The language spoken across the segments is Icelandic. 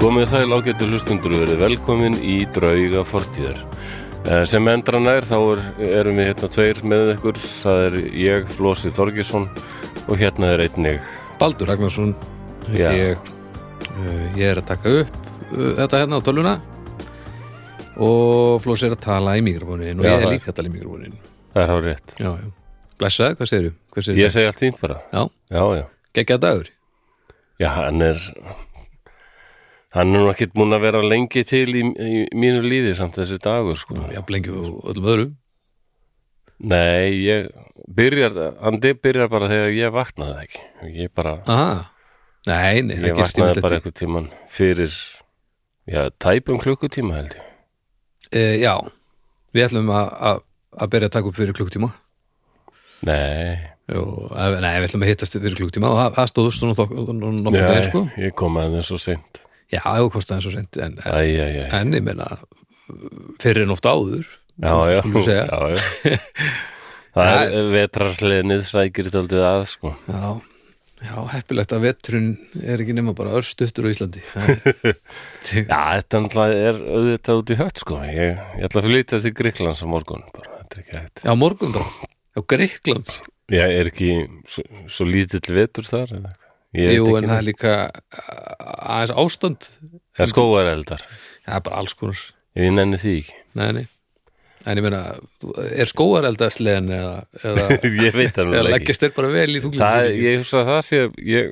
Komið sæl ágættu hlustundur og verið velkomin í drauga fortíðar. Eh, Sem endran er þá er, erum við hérna tveir með ykkur, það er ég, Flósi Þorgesson og hérna er einnig. Baldur Ragnarsson heiti Já. ég, uh, ég er að taka upp uh, þetta hérna á tölvuna og Flósi er að tala í mikrofónin og Já, ég það er er. líka að tala í mikrofónin Það er hár rétt. já, já. blessaði, hvað segirðu? Hvað segirðu? Ég segi allt fínt bara. Já, Já, já. geggjaði dagur Já, hann er, hann er nú ekkert múin að vera lengi til í, í mínu lífi samt þessi dagur, sko. já, blengi og öllum öðrum Nei, ég byrjar, andi byrjar bara þegar ég vaknaði ekki. Ég bara, aha, nei, nei, ég það gerst vaknaði bara tímast eitthvað tíman fyrir, já, tæpum klukkutíma held ég. uh, já, við ætlum að, að, að byrja að taka upp fyrir klukktíma Nei, og, nei, við ætlum að hittast fyrir klukktíma og það- það stóðust svona nokkuð já, dagir sko ég kom aðeins svo seint. já, það kostið eins og sent en, en Æ, já, já, já, en ég meina fyrir en oft áður já, svo- já, skulum segja. já, já. Það er vetrarsliðnið sækir taldið að, sko. já, já, heppilegt að vetrun er ekki nema bara örstuttur á Íslandi Það- Já, þetta náttúrulega er auðvitað út í hött, sko. Ég, ég ætla að flytja til Gríklands á morgun, bara, þetta er ekki hægt. já, morgun bara, á Greiklands Já, er ekki svo, svo lítill vetur þar, eða eitthvað? Ég veit jú, ekki en neitt. það er líka a- aðeins ástand Það er skóareldar, það er bara alls konar ég nenni því ekki nei, nei. en ég meina, þú- er skóareldarsleðin eða, eða, Ég veit það eða nú ekki leggjast er bara vel í þunglið það, Ég hugsa að það sé ég,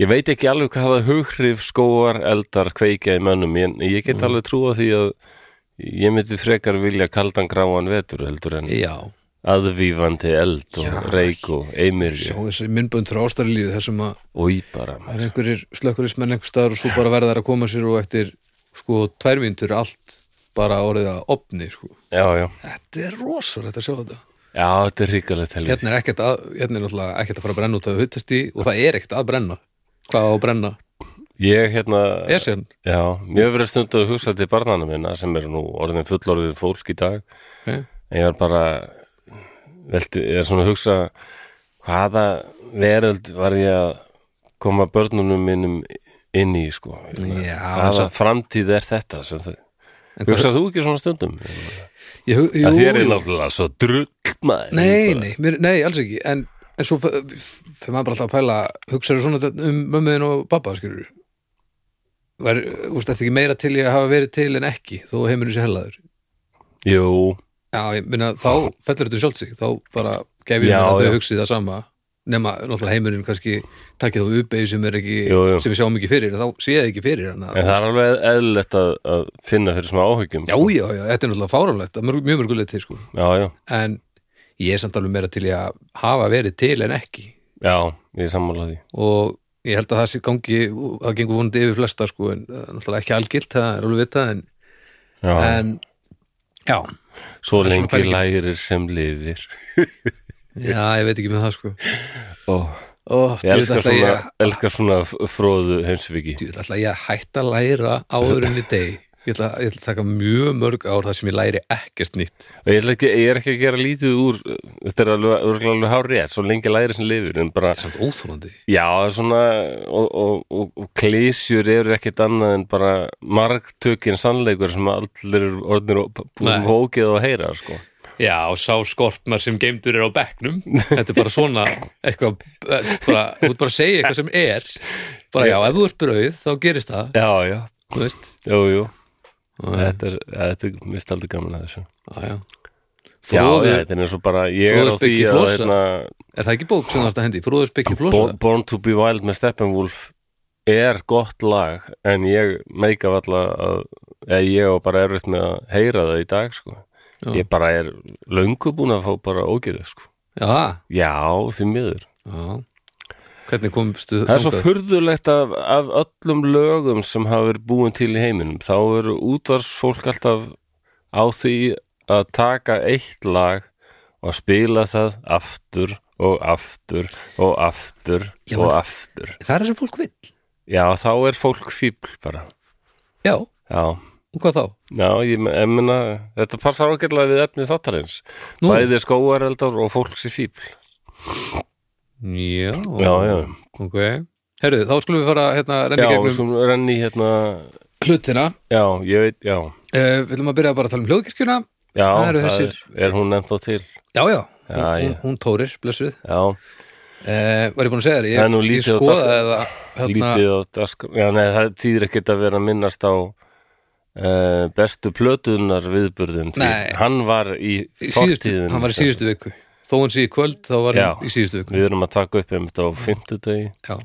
ég veit ekki alveg hvaða hughrif skóareldar kveikja í mönnum en ég Mhm. get alveg trúa því að ég myndi frekar vilja kaldan gráan vetur heldur en já, aðvífandi eld og Já. reik og sjá eimirju þessi myndbönd frá ástarlíu þar sem að og íbara það er einhverjir slökkulismenn einhver staðar og svo bara verða þær að koma sér og eftir sko tvær mínútur er allt bara orðið að opni sko. Já, já, þetta er rosalegt að sjá þetta já, þetta er ríkalegt helvið hérna er ekkert að, hérna er náttúrulega ekkert að fara að brenna út af hittast í og það er ekkert að brenna hvað á að brenna, Ég hérna er sér Já, mér hefur verið stundu að hugsa til barnana minna sem eru nú orðin fullorðið fólk í dag okay. ég var bara velti, ég er svona að hugsa hvaða veröld var ég að koma börnunum minnum inn í sko Já, en hvaða samt- framtíð er þetta sem þau Hugsa þú ekki svona stundum? ég, hu- jú, Jú, þér er jú. náttúrulega svo drull maður nei, nei, mér, nei, alls ekki en, en svo f- f- fyrir maður bara alltaf að pæla hugsaðu svona þetta um mömmuðin og babba skilur var, úst, eftir ekki meira til ég að hafa verið til en ekki þó heimurinn sé hellaður Jú, Já, ég minna, þá fellur þetta sjálft sig þá bara gef ég Ah. mér Já, að já. þau hugsið það sama nema náttúrulega heimurinn kannski takkið þá upp eigi sem er ekki Jú, jú. sem við sjáum ekki fyrir, þá sé ég ekki fyrir hérna. hana en það er alveg eðlilegt að, að finna fyrir smá áhyggjum sko. Já, já, já, þetta er náttúrulega fáránlegt að mörg, mjög mörgulegt til, sko já, já, en ég er samt alveg meira til í að hafa verið til en ekki já, ég sammála því og ég held að það sé gangi það gengur vonandi yfir flesta, sko en það er náttúrulega ekki algilt, það er alveg vitað en, Já, en já, svo er svona lengi pælingin. lærir sem lifir já, ég veit ekki með það, sko Ó, Ó, Ég djöfull, elskar ætla svona, ég- elskar svona f- fróðu heimsbyggi Ég ætla ég að hætta að læra áður en í deg Ég ætla, ég ætla að taka mjög mörg ár þar sem ég læri ekkert nýtt Og ég, ætla ekki, ég er ekki að gera lítið úr Þetta er alveg, alveg, alveg hárétt Svo lengi læri sem lifir En bara, Samt óþólandi já, það er svona Og, og, og, og klísjur eru ekkit annað En bara margtökin sannleikur Sem allir eru orðnir og- Nei. búin hókið og heyra sko. Já, og sá skorpnar sem geimdur er á bekknum Þetta er bara svona eitthvað, eh, bara, þú ert bara að segja eitthvað sem er bara já, ef þú ert brauð þá gerist það, Já, já, þú veist jú, jú Já, Þetta er, þetta er mist aldrei gaman að þessu já Já, Fróður, þetta er eins og bara Ég er á því Fróðusbyggi að flosa. hérna, er það ekki bók sem þú ert að hendi? Fróður spekki Born, flosa? Born to be Wild með Steppenwolf er gott lag en ég meika valla að eða ég og bara erfitt með að heyra það í dag sko. Já. ég bara er löngu búin að fá bara ógeðu sko. Já, já því miður já Hvernig komstu það er svo furðulegt af, af öllum lögum sem hafa verið búin til í heiminum þá eru útvarsfólk alltaf á því að taka eitt lag og spila það aftur og aftur og aftur Já, og en- aftur Það er það sem fólk vill Já, þá er fólk fíbl bara. Já, og Já, hvað þá? já ég me- ég meina, þetta passar ágætlega við efni þáttarins. Nú. Bæði skóareldar og fólks í fíbl. Já, Já, já. ok Herru, þá skulum við fara hérna renni Já, já, við gegnum skulum renni hérna hlutina Já, ég veit, já uh, Viljum að byrja bara að tala um hljóðkirkjuna Já, Það eru er, er hún ennþá til Já, já, Já, hún, hún, já. hún tórir, blessuð uh, Já, Var ég búin að segja þér, Það er nú ég, ég lítið á skoða dagskrá- eða hérna, lítið á dagskrá Já, nei, það týðir ekkert að vera að minnast á uh, bestu plötunar viðburðin því Nei. Hann var í í síðustu, fortíðin Hann var í síðustu viku Þó hann sé í kvöld, þá var Já. hann í síðustu viku Við erum að taka upp einmitt á fimmtudegi Já,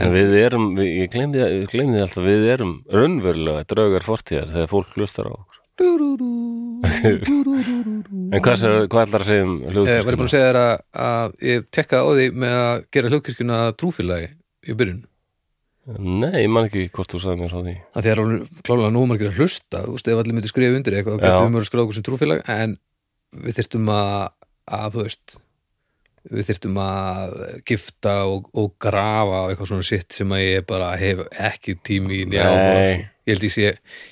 En við erum, við, ég glemdi það- ég glemdi það alltaf, við erum raunverulega draugar fortíðar þegar fólk hlustar á okkur. en hvað, sér, hvað ætlar að segja um uh, var ég hljóðkirkjuna? búin að segja þér að, að ég tekkaði á því með að gera hljóðkirkjuna trúfélagi í byrjun Nei, ég man ekki hvort þú sagði mér á því. að því að klálega nú margir að hlusta þú veist, ef allir myndi skrifa undir eitthvað þá Já. getum við mjög að skráða okkur sem trúfélag en við þyrftum að, að þú veist við þyrftum að gifta og, og grafa og eitthvað svona sitt sem að ég bara hef ekki tími í njá Nei. ég held ég sé,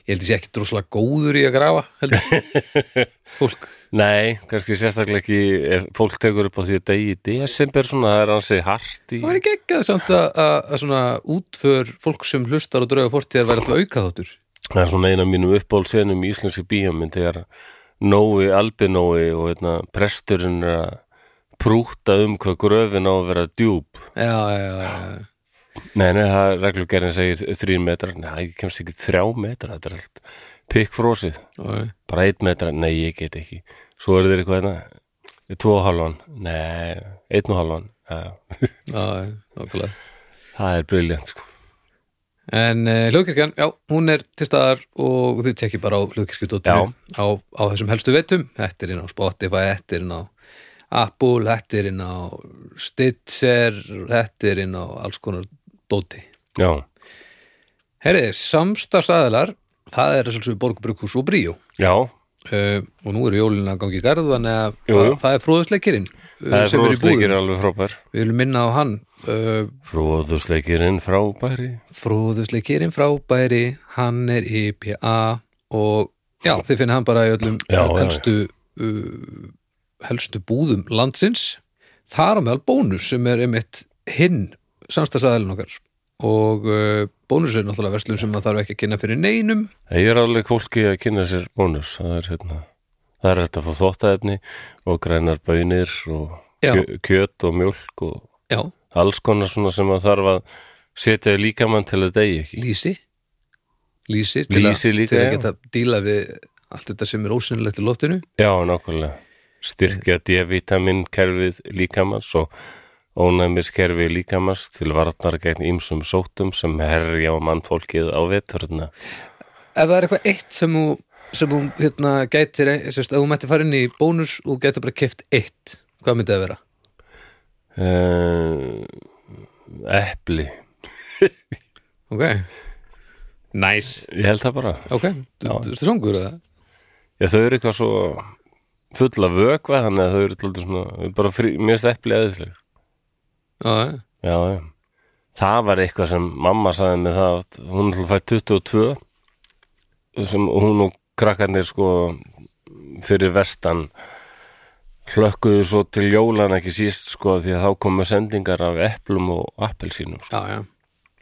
ég held ég sé ekki droslega góður í að grafa heldur fólk Nei, kannski sérstaklega ekki, ef fólk tekur upp á því að degi í desember svona, það er hansi hart í. það var ekki ekki að samt að, að, að svona útför fólk sem hlustar og drauga fórtíð að vera alltaf auka þáttur Það er svona eina af mínum uppbólsenum í íslenski bíómynd þegar Nói, Albinói og hérna, presturinn er að prúta um hvað gröfin á að vera djúb. já, já, já, já. Nei, nei, það reglugerðin segir þrín metrar, nei, ég kemst ekki þrjá metra, þetta er allt pikkfrósið, Og- bara einn metra, nei, ég get ekki. Svo eru þeir eitthvað hérna, tvo og halvan, nei, einn og halvan, já, já. já, já, nákvæmlega það er briljant, sko. En uh, hljóðkirkjan, já, hún er til staðar og þið tekki bara á hljóðkirkju.nu á, á þessum helstu veitum Þetta er inn á Spotify, þetta er inn á Apple, þetta er inn á Stitcher, þetta er inn á alls konar dóti Já, Herri, samstafsaðilar, það er þessu borgbrukus og bríó já, uh, og nú eru jólina að gangi í garð þannig að Jú, jú. að það er fróðusleikirinn sem það er er í fróðusleikir búðum alveg frábær. Við viljum minna á hann uh, Fróðusleikirinn frábæri. fróðusleikirinn frábæri hann er IPA og já, þið finna hann bara í öllum Já, já, já. helstu Uh, helstu búðum landsins þar á meðal bónus sem er einmitt hinn samstagsæðalinn okkar og uh, bónus er náttúrulega verslun sem maður þarf ekki að kynna fyrir neinum Ég er alveg fólki að kynna sér bónus, það er hérna, það er þetta að fá þvottaefni og grænar bönir og Já. kjö, kjöt og mjólk og já, alls konar svona sem að þarf að setja í líkamann til að degi ekki lýsi lýsi til, að- Lýsi líka, til að já. geta díla við allt þetta sem er ósynlegt í loftinu já, nákvæmlega styrkja D-vitamin kerfið líkamanns og ónæmis kerfi líkamanns til varnar gegn ímsum sótum sem herja á mannfólkið á veturna ef það er eitthvað eitt sem þú sem þú hérna, gætir sérst, ef þú mætti fara inn í bónus og gætir bara keft eitt hvað myndi það vera? uh, Epli ok nice ég held það bara ok, þú þú ertu songur eða? Já, þau eru eitthvað svo fulla vökva þannig að þau eru tóldur svona bara frí, mér finnst epli aðeinsleg Já, já. Já, já Það var eitthvað sem mamma sagði með það að hún ætla að fæ 22 sem hún og krakkarnir sko fyrir vestan hlökkuðu svo til jólan ekki síst sko því að þá komu sendingar af eplum og appelsínum sko, já, já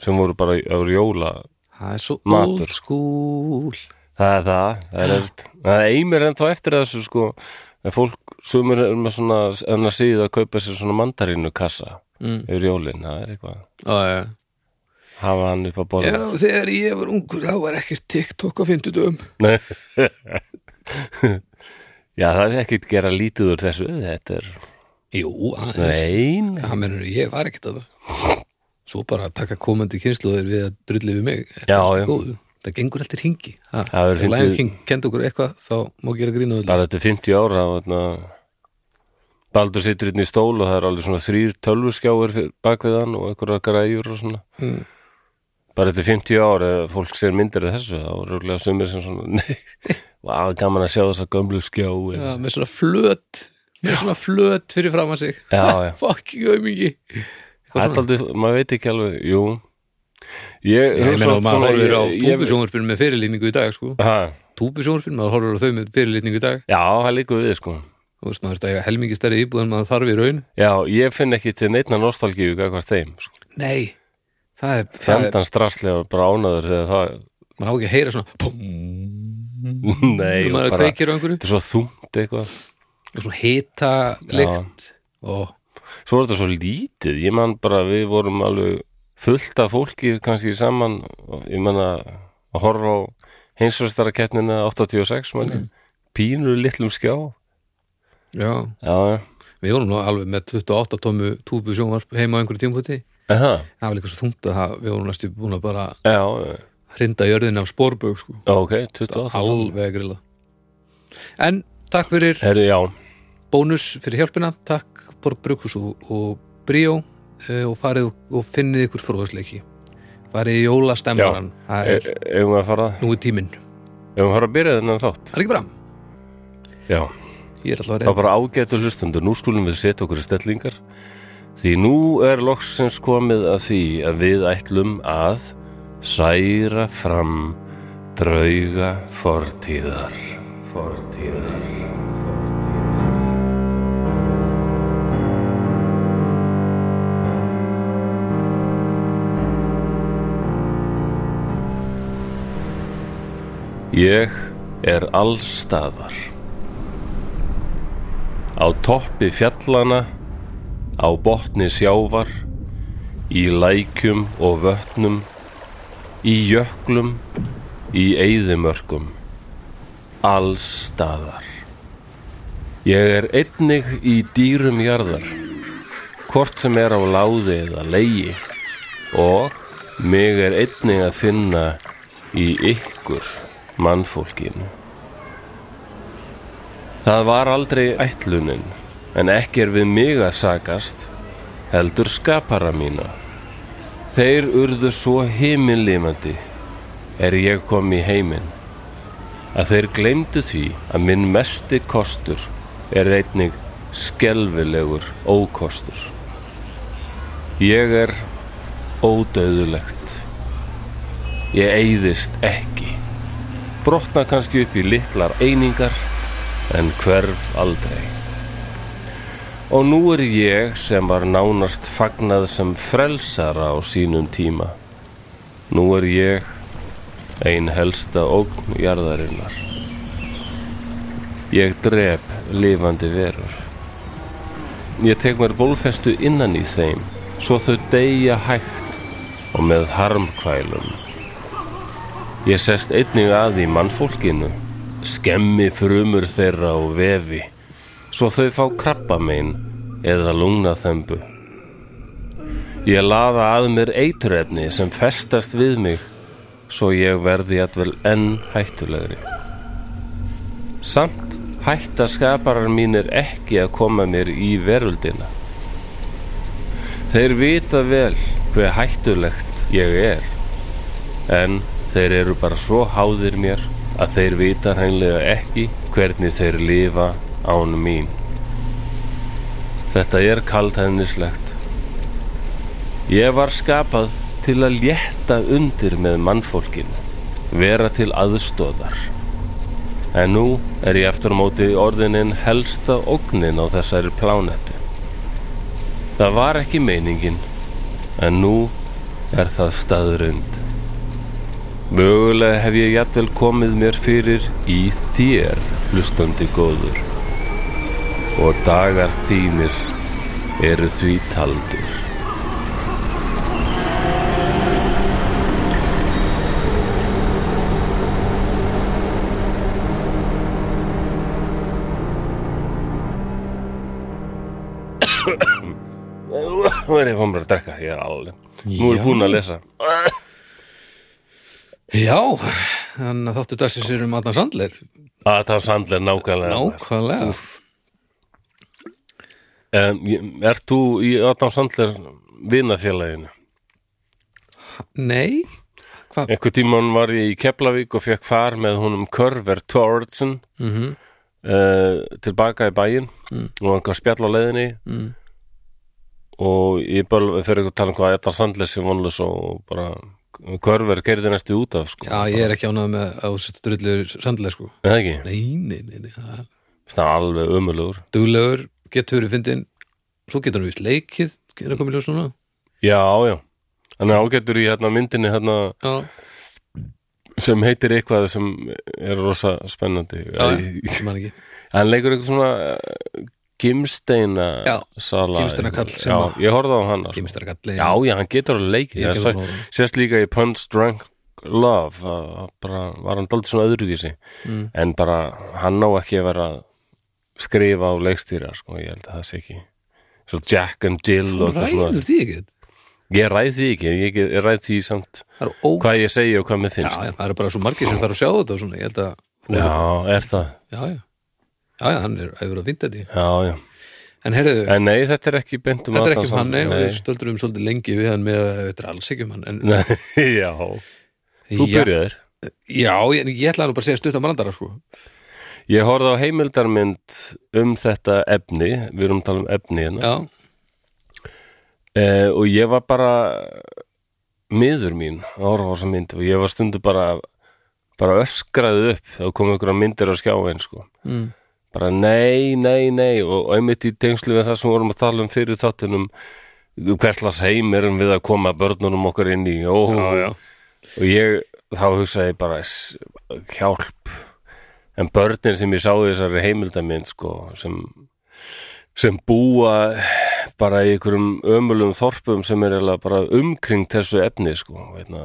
sem voru bara það voru jóla það er svo Matur. old school Það er það, það er, það er eimir ennþá eftir þessu sko að fólk sumur er með svona enn að síða að kaupa sér svona mandarínu kassa Mm. yfir jólin, það er eitthvað já, já. hafa hann upp að já, borða þegar ég var ungur þá var ekkert TikTok á 50 dögum Nei. Já, það er ekkert gera lítið úr þessu, þetta er jú, aðeins nein það mennur, ég var ekkert að það svo bara að taka komandi kynsluður við að drulli við mig þetta Já, er allt í já. góðu, það gengur alltaf hringi Ha, Það verður ef Lion fyndið- King kenda okkur eitthvað þá má gera grínuðu bara þetta er 50 ára og þarna Baldur situr inn í stól og það er alveg svona þrýr tölvuskjáir fyrir- bak við hann og einhverja græjur og svona Mm. bara þetta er 50 ára ef fólk sér myndir af þessu þá er rúglega sumir sem svona nei, vá, gaman að sjá þessa gömlu skjá Já, með svona flöt með svona flöt fyrir fram að sig Já, já. fucking aumingi það er aldrei, maður veit ekki alveg, jú ég, ég meina að maður horfir á ég, túbusjónvarpinu með fyrirlýningu í dag sko. ha, túbusjónvarpinu, maður horfir á þau með fyrirlýningu í dag já, það líku við sko og veist, maður stæði helmingi stærri íbúð en maður þarf í raun já, ég finn ekki til neittna nostalgíu hvað þeim, sko. nei, það er, það er Fjandan strasslega bránaður þegar það maður á ekki að heyra svona pum, Nei, þegar maður bara, bara, kveikir á einhverju þetta er svo þungt eitthvað og svona hita lykt og Svo var þetta svo lítið, ég man bara við vorum alveg fullt af fólki kannski saman, og ég man að horfa á heimsvistarakettnina 86 manni, mm. pínur litlum skjá já, Já, já, við vorum nú alveg með 28 tómu túbu sjónvarp heima á einhverju tímkvöldi Aha, það var líka svo þungt að það, við vorum næstu búin að bara já, já. hrinda jörðin af spórbög sko, Já, ok, 28 saman. alveg grilla en takk fyrir Herru, já, bónus fyrir hjálpina, takk Borg Brukus og, og Bríó eh, og farið og finnið ykkur fróðsleiki farið í jólastemmaran það e- er eigum við að fara nú í tíminn, eigum við að fara að byrja þennan þátt það er ekki bra Já, ég er alltaf að það reyna var bara ágætu hlustundur, nú skulum við setja okkur í stellingar Því nú er loksins komið að því að við ætlum að særa fram drauga fortíðar Fortíðar Ég er allstaðar. Á toppi fjallana, á botni sjávar, í lækjum og vötnum, í jöklum, í eyðimörkum. Alls staðar. Ég er einnig í dýrum jarðar, hvort sem er á láði eða leigi og mig er einnig að finna í ykkur mannfólkinu. Það var aldrei ætlunin, en ekki er við mig að sakast, heldur skapara mína. Þeir urðu svo himinlifandi er ég kom í heiminn, að þeir gleymdu því að minn mesti kostur er einnig skelfilegur ókostur. Ég er ódauðulegt. Ég eyðist ekki. Brotna kannski upp í litlar einingar, en hverf aldrei. Og nú er ég sem var nánast fagnað sem frelsara á sínum tíma. Nú er ég ein helsta ógn jarðarinnar. Ég drep lifandi verur. Ég tek mér bólfestu innan í þeim, svo þau deyja hægt og með harmkvælum. Ég sest einnig að í mannfólkinu, skemmi frumur þeirra og vefi, svo þau fá krabbamein eða lungna þembu. Ég laða að mér eiturefni sem festast við mig, svo ég verði jættvel enn hættulegri. Samt hætta skaparar mínir ekki að koma mér í veröldina. Þeir vita vel hver hættulegt ég er en þeir eru bara svo háðir mér að þeir vita hreinlega ekki hvernig þeir lifa án mín. Þetta er kaldhæðnislegt. Ég var skapað til að létta undir með mannfólkinu, vera til aðstóðar. En nú er ég eftir á móti orðinin helsta ógnin á þessari plánetu. Það var ekki meiningin, en nú er það staðurund. Mögulega hef ég jættvel komið mér fyrir í þér, hlustandi góður. Og dagar þínir eru því taldir. Nú er ég fann mér að drekka, ég er alveg. Nú er Já. ég búinn að lesa. já, þannig að þáttu dagsins er um Adnan Sandler Adam Sandler nákvæmlega. nákvæmlega Um, ég- ert þú í Adam Sandler vinafélaginu? nei, hvað Einhver tímann var ég í Keflavík og fekk far með honum Körver Thorardsen mm uh, tilbaka í bæinn og hann gaf spjall á leiðinni Mm. og ég bara fyrir ekki að tala um hvað Adam Sandler sem vonlaus og bara Körver gerði næstu út af sko. já, ég er ekki ánað með að þú sett drullur Sandler sko Er Það ekki, nei, nei, nei, nei, það er það er alveg ömulegur duglegur, getur verið fyndin svo getur hann vist leikið er að koma í ljós núna Já, já, hann er ágættur í hérna, myndinni hérna, já, sem heitir eitthvað sem er rosa spennandi já, Æ, ég man ekki hann leikur eitthvað svona eh, gimsteina Já, sala gimsteinakall sem já, að- ég horfði á hann sko. Gimstar galli já, já, hann getur alveg leikið Ég Það get sá- alveg horfði á hann. sést líka í Punch Drunk Love að, að bara, var hann daldið svona öðruvísi Mm. en bara hann á ekki að vera að skrifa á leikstýra sko, ég held að það sé ekki svo Jack and Jill Þú og eitthvað svona ræður því ekki ég ræð því ekki, ég, get- ég ræð því samt Það eru ó hvað ég segi og hvað mér já, finnst já, það eru bara svo margir sem þarf að sjá þetta og svona, ég held að þú- já, er það já, já, já, já, hann er hefur að vinda því já, já. En heyrðu, en nei, þetta er ekki beint um þetta er Adam ekki um hann nei, og við Sandler, stöldurum svolítið lengi við hann með að þetta er alls ekki um hann en, nei, nei, já, þú já, byrjaðir já, ég, ég ætla nú bara að segja stutt á Marandara sko. ég horfði á heimildarmynd um þetta efni við erum að tala um efni hérna Já, Eh, og ég var bara miður mín að horfa á þessa mynd og ég var stundu bara bara öskraði upp þá kom einhverja myndir á skjáin sko. mm, bara nei, nei, nei og, og einmitt í tengslu við það sem við vorum að tala um fyrir þáttunum hverslas heim erum við að koma börnunum okkar inn í ó, já, já, og ég þá hugsaði ég bara "S- hjálp en börnin sem ég sá í þessari heimildamind sko, sem, sem búa bara í einhverjum ömulum þorpum sem er eiginlega bara umkring þessu efni sko, veitna,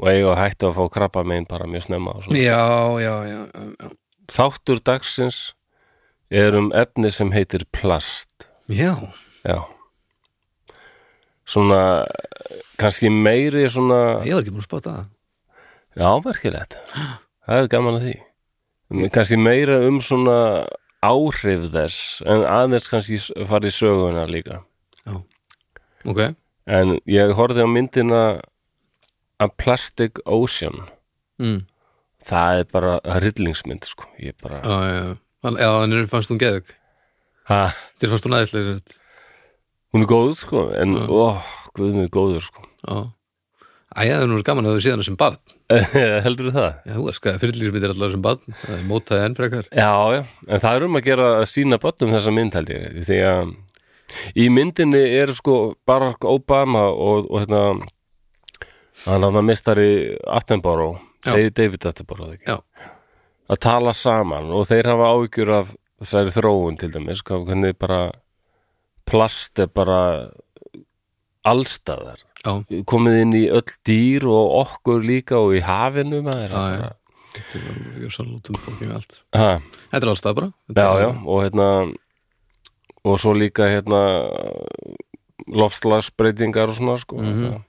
og eiga að hættu að fá krabba megin bara mjög snemma og svona. já, já, já, já. þáttur dagsins er um efni sem heitir plast Já, já svona kannski meiri svona ég var ekki múin að spáta það Já, merkilegt. Það er gaman að því. Kannski meira um svona áhrif þess, en aðeins kannski s- fara í söguna líka. Ok, En ég horfði á myndina A Plastic Ocean. mm, Það er bara það er hryllingsmynd, sko. Ég bara... já, já, já Hann- Já, hann er fannst hún geðug Ha, Þér fannst hún aðeinslega sér hún er góð, sko, en Já. ó, guð mig góður, sko. Já Æja, það er nú gaman að þú síðan sem barn Heldur það? Já, þú er skaði fyrirlýsmyndir allavega sem barn Það er mótaði enn frekar Já, já, en það er um að gera að sína bönnum þessa mynd held ég, því að í myndinni er sko Barack Obama og, og hérna hann hann að mistari Attenborough, Já. David- David Attenborough ekki, Já. að tala saman og þeir hafa áhyggjur af þessari þróun til dæmis, hvað- hvernig bara plast er bara allstaðar Já, komið inn í öll dýr og okkur líka og í hafinu maður hérna. Já, já. þetta er alveg svona út um fólking allt Ha, Þetta er alls það bara Þetta já, er- já, og hérna og svo líka hérna loftslagsbreytingar og svona Mhm. sko mm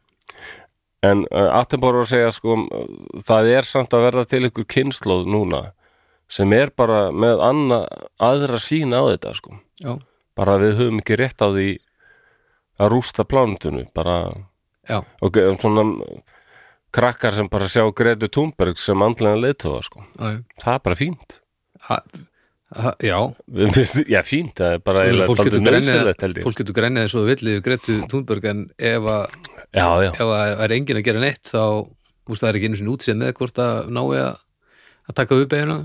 en uh, Attenborough að segja sko uh, það er samt að verða til ykkur kynnslóð núna sem er bara með anna, aðra sín á þetta sko já, bara við höfum ekki rétt á því að rústa plánutinu bara já, ok, um svona um, krakkar sem bara sjá Gretu Thunberg sem andlega leiðtóða sko já, já. það er bara fínt Ha, ha, já. Mér finnst- Já, fínt, það er bara eiginlega fólk getur dálítið nauðsynlegt held grænið ég. fólk getur grænið eins og það villi Gretu Thunberg en ef að Já, já, ef að er enginn að gera neitt þá úst, það er ekki einu sinni útsið með hvort að nái að að taka upp einu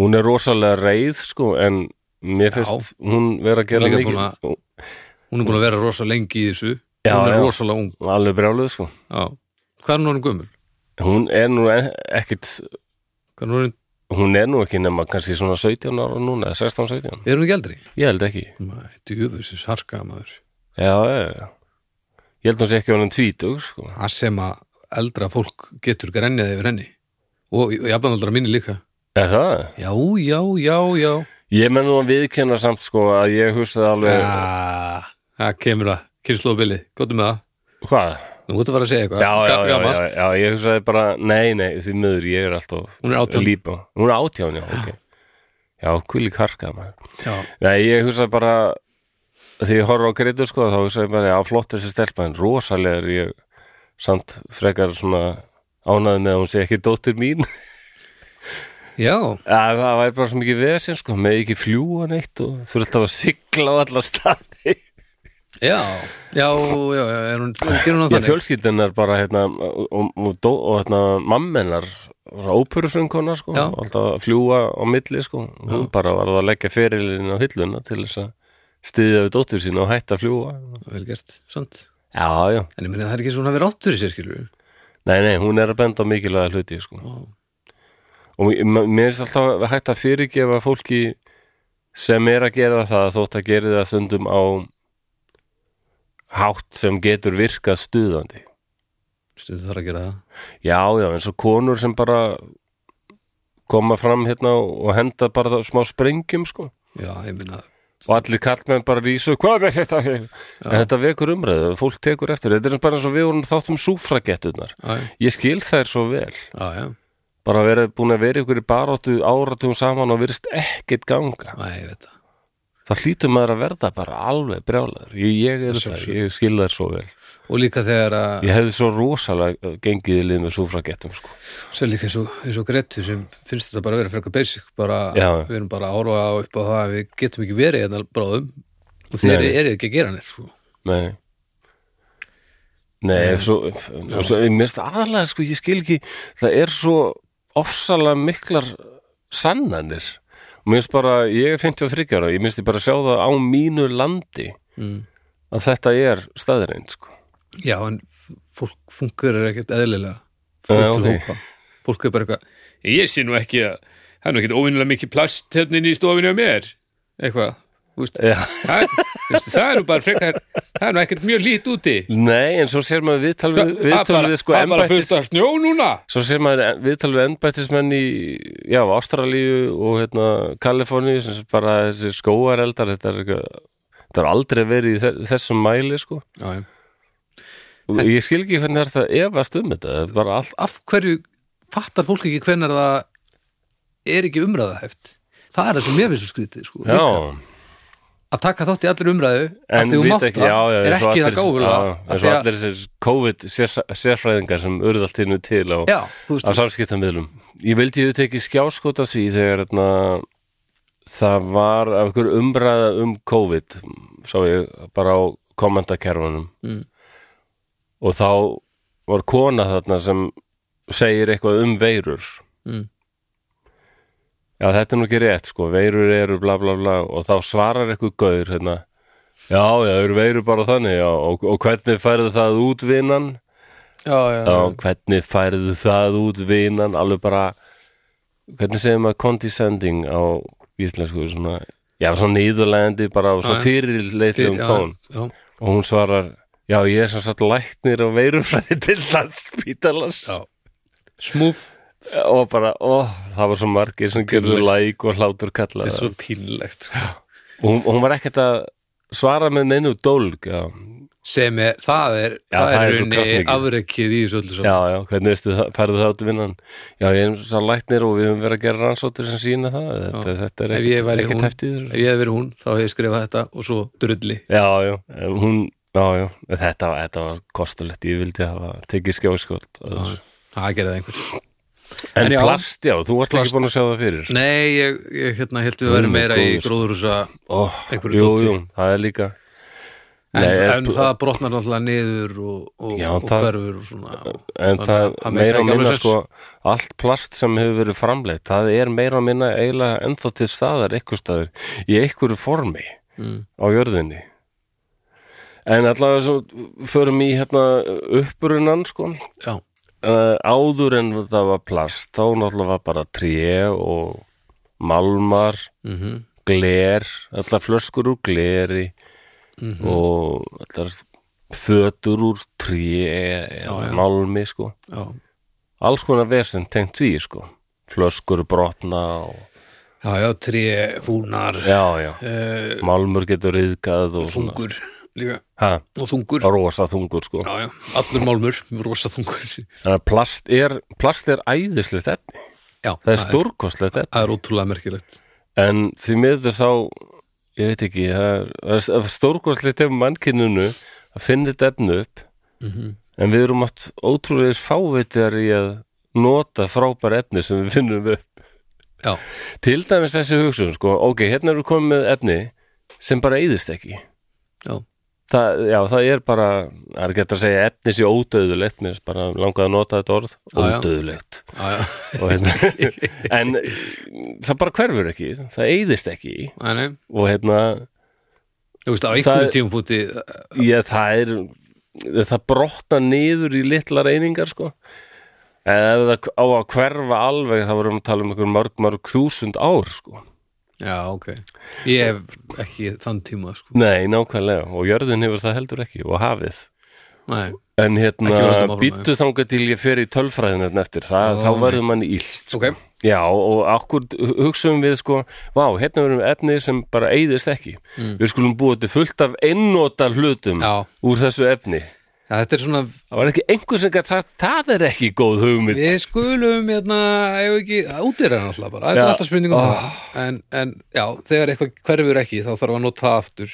hún er rosalega reið sko, en mér Já. finnst hún vera að gera Líka mikið búin hún er búin að vera rosa lengi í þessu Já, hún er já. rosalega ung alveg brjáluð sko. já. hvað er hún orðin gömul? hún er nú e- ekkit Hvað er, hún orðin, hún er nú ekki nema kannski svona 17 ára núna, eða 16-17, er hún ekki eldri? ég held ekki Nei, djöfusins harka maður já, já, já ég held hún sé ekki honum tvítug sko. það sem að eldra fólk getur grænið yfir henni og jafnaldra minni líka er það? já, já, já, já ég menn nú að viðkenna samt sko, að ég hugsaði alveg Ah, það kemur það, kynnslóðbili gottum með það, hvað? nú ert að fara að segja eitthvað Já, já, Ga- já, já, gamalt. já, ég hugsaði bara nei, nei, því miður, ég er alltaf Hún er átján. lípa, hún er átján, já, ok já, kvili karka maður já, Nei, ég hugsaði bara því ég horf á greitu sko þá hugsaði ég bara, já, flott þessi stelpa en rosalega er ég samt frekar svona ánæði með að hún sé ekki dóttir mín að, já, það væri bara svo mikið vesinn sko, með ekki fljúa neitt og þurfti alltaf að sigla á alla staði já já, já, já, er hún, gerum hún Já, það fjölskyldan er bara hérna og, og, og, dó- og hérna, mammenar óperusöngkona sko Já. og alltaf að fljúa á milli sko hún bara var að leggja ferilinn á hilluna til þess að styðja við dóttur sína og hætta að fljúa vel gert, sant já, já, en ég meina það er ekki svona að vera áttur í sér skilur nei, nei, hún er að benda á mikilvæga hluti sko. og m- mér er alltaf hægt að fyrirgefa fólki sem er að gera það þótt að gera það stundum á hátt sem getur virkað stuðandi stundu þarf að gera það já, já, eins og konur sem bara koma fram hérna og henda bara smá sprengjum sko já, ég meina og allir kallmenn bara rísu hvað er þetta? En þetta vekur umræðu, fólk tekur eftir þetta er bara eins og við vorum þátt um súfragettunar já, já, ég skil þær svo vel já, já, bara að vera búin að vera ykkur í baráttu áratugum saman og virðist ekkit ganga Æ, ég veit það það hlýtur maður að verða bara alveg brjálaður ég, ég, er það, sjálfsögðu. ég skil þær svo vel og líka þegar að ég hefði svo rosalega gengið í lið með súfragettum sko. Sér líka eins og, eins og Gretu sem finnst þetta bara að vera frekar basic bara, Já. við erum bara að horfa á upp á það að við getum ekki verið hérna bráðum og þeir Nei, eru nei. eru ekki að gera neitt sko. Nei Nei, um, svo, og svo mér finnst aðalega sko, ég skil ekki það er svo ofsalega miklar sannanir og mér finnst bara, ég er 53 ára ég minnst ég bara sjá það á mínu landi mm. að þetta er staðreind sko. Já, en fólk fungur er ekkert eðlilega Já, fólk, ok. okay. fólk er bara eitthvað ég sé nú ekki að það er nú ekkert óvinnilega mikið plast hérna inn í stofinu á mér eitthvað, þú veist Já. það, þú veist, það er nú bara frekar það er nú ekkert mjög lít úti Nei, en svo sér maður viðtal við, viðtal við sko embættis að snjó núna svo sér maður viðtal við embættismenn í já, Ástralíu og hérna Kaliforníu sem bara þessi skóareldar þetta er, eitthvað- þetta er aldrei verið í þe- þessum mæli sko Já, já Og Ég skil ekki hvernig það er þetta efast um þetta það er bara allt af hverju fattar fólk ekki hvenær það er ekki umræðahæft það er það sem mér finnst svo skrítið sko. Já, Líka. að taka þátt í allir umræðu en að því þú vita mátt ekki, já, já, það er eins og ekki það allir- gáfulega já, af eins því og að- allir þessir COVID sér- sérfræðingar sem urðu allt innu til á, já, þú á veist, samskiptamiðlum Ég vildi ég teki skjáskot af því þegar hérna, það var af ykkur umræða um COVID sá ég bara á kommentakerfunum Mm. og þá var kona þarna sem segir eitthvað um veirur Mm. Já, þetta er nú ekki rétt, sko, veirur eru bla bla bla og þá svarar eitthvað gaur hérna, já, já, eru veirur bara þannig, já, og, og hvernig færðu það út vinan? já, já, Já, hvernig færðu það út vinan? Alveg bara, hvernig segir maður condescending á íslensku, svona, já, svona nýðurlegandi, bara á Já, svona já. fyrirleitlum tón já, og hún svarar, já, ég er sem sagt læknir og veirufræði til landspítalans já. smúf og bara, ó, það var svo margir sem gerðu læk og hlátur kallað svo pínlegt sko. og hún, hún var ekkert að svara með neinu dólg já, sem er, það er Já, það, það er er svo raunni kraftmikið. afrekið í þessu öllu saman já, já, hvernig veistu, það- færðu það út í vinnan já, ég er svo læknir og við höfum verið að gera rannsóttir sem sína það, þetta, þetta er Ef ég ekkert, væri hún. ekkert heftið ef ég hef verið hún, þá hef ég skrifað þetta og svo drulli já, já, en hún já, já, þetta, var- þetta var kostulegt ég vildi hafa tekið skjáskóld en, það gerði það einhver En en já. plast, já, þú varst Plast. ekki búin að sjá það fyrir nei, ég, ég hérna held við verðum Guð minn meira í góður. sko. gróðurúsa oh, Einhverju jú, dóti. jú, það er líka En, Nei, er- en það brotnar náttúrulega niður og, og, Já, og það- hverfur og svona og, en Þannig það að það meikar ekki meira og alveg minna sens. sko, allt plast sem hefur verið framleitt það er meira og minna eiginlega ennþá til staðar ykkur staðar í einhverju formi mm, á jörðinni en allavega svo förum í hérna upprunan sko Já, uh, áður en það var plast þá náttúrulega var bara tré og malmar mm gler, allar flöskur úr gleri Mhm. og allar fötur úr tré Já, já. eða málmi sko já. alls konar vesend tengt því sko flöskur brotna og já, já, tré, fúnar já, já, uh, málmur getur yðgað og svona, þungur líka, ha, og þungur rosa þungur sko Já, já, allur málmur, rosa þungur þannig að plast er, plast er æðislegt efni, Já, það er stórkostlegt efni það er ótrúlega merkilegt en því miður þá ég veit ekki, það er, það er stórkostlegt ef mannkinnunu að finna þetta efni upp Mhm. en við erum átt ótrúlega fávitiðar í að nota frábær efni sem við finnum upp Já, til dæmis þessi hugsun sko, ok, hérna eru komið með efni sem bara eyðist ekki Já. Það, já, það er bara, það er gett að segja efni sé ódöðulegt, mér finnst bara langaði að nota þetta orð, Já, já. ódöðulegt já, já, og hérna en það bara hverfur ekki, það eyðist ekki Æ, nei og hérna, Þú veist, á eh, Það einhverjum er- tímpúti ég, það er það brotna niður í litlar einingar sko en ef það á að hverfa alveg þá vorum við að tala um einhver mörg mörg þúsund ár sko já, ok ég hef ekki þann tíma sko. nei, nákvæmlega, og jörðin hefur það heldur ekki og hafið nei, Ekki en við höldum hérna, áfram, býttu þangað til ég fer í tölfræðin hérna eftir, það, Ó, þá nei. verður manni illt sko. ok, Já, og okkur hugsaum við sko, vá, hérna verðum við efni sem bara eyðist ekki. Við skulum búið til fullt af einnóta hlutum Mm. Já. úr þessu efni. já, þetta er svona Það var ekki einhver sem gætt sagt, það er ekki góð hugmynd. við skulum hérna, ef ekki, útýra hann alltaf bara, þetta Já. Ah. er alltaf spurning um það en, en já, þegar eitthvað hverfur ekki þá þarf að nota það aftur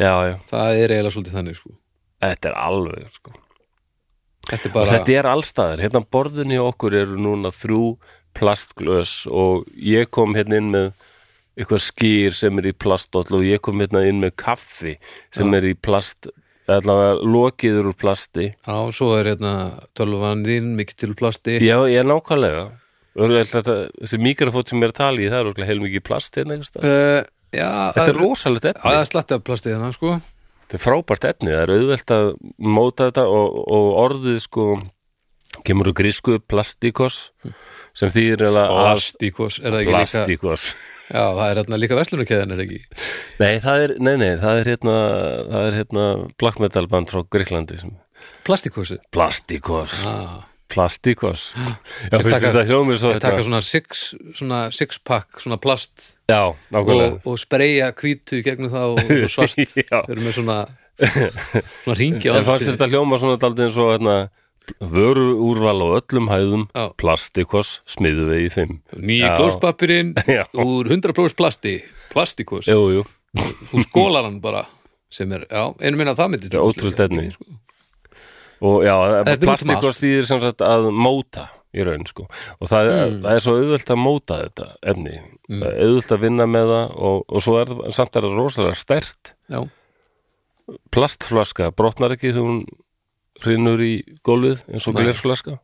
Já, já, það er eiginlega svolítið þannig sko. þetta er alveg, sko. þetta er Og bara, þetta er allstaðar. Hérna borðin hjá okkur eru núna þrjú plastglös og ég kom hérna inn með eitthvað skýr sem er í plastoll og ég kom hérna inn með kaffi sem er í plast, allavega lokiður úr plasti. já, svo er hérna tölvan þín, mikið til plasti Já, ég er nákvæmlega Örugglega þetta, Þessi mikrofót sem ég er að tala í það er örugglega heilmikið plast hérna einhvers staðar. uh, já, Þetta er rosalegt efni, það er slatti af plasti hérna, sko þetta er frábært efni það er auðvelt að móta þetta og, og orðið sko kemur úr grísku plastikos sem þýðir eiginlega að plastikos, er það ekki líka plastikos já, það er hérna líka verslunarkeðan, er ekki Nei, það er, nei, nei, það er hérna það er hérna black metal band frá Gríklandi sem plastikosi plastikos, ah. plastikos Já, finnst taka- þetta hljómið svo hérna. Þeir taka svona six, svona six pack svona plast Já, nákvæmlega og, og spreja hvítu í gegnum það og svo svart Já. þeir eru með svona svona ringi á En fannst andlitið. þetta hljóma svona daldið eins og hérna, vöru úrval á öllum hæðum Já. plastikos smiðu við í fimm nýji Já. glóspapirinn Já. úr 100% plasti plastikos, Jú, jú, þú skólar hann bara sem er, já, einu minna það myndi þetta er ótrúld efni og já, sko. Þetta er út um plastikos allt. þýðir sem sagt að móta í raun sko og það, Mm. það er svo auðvelt að móta þetta efni, það er auðvelt að vinna með það og, og svo er það samt er það rosalega stert já, plastflaska, brotnar ekki þegar hún hrinur í gólfið eins og Nei. glerflaska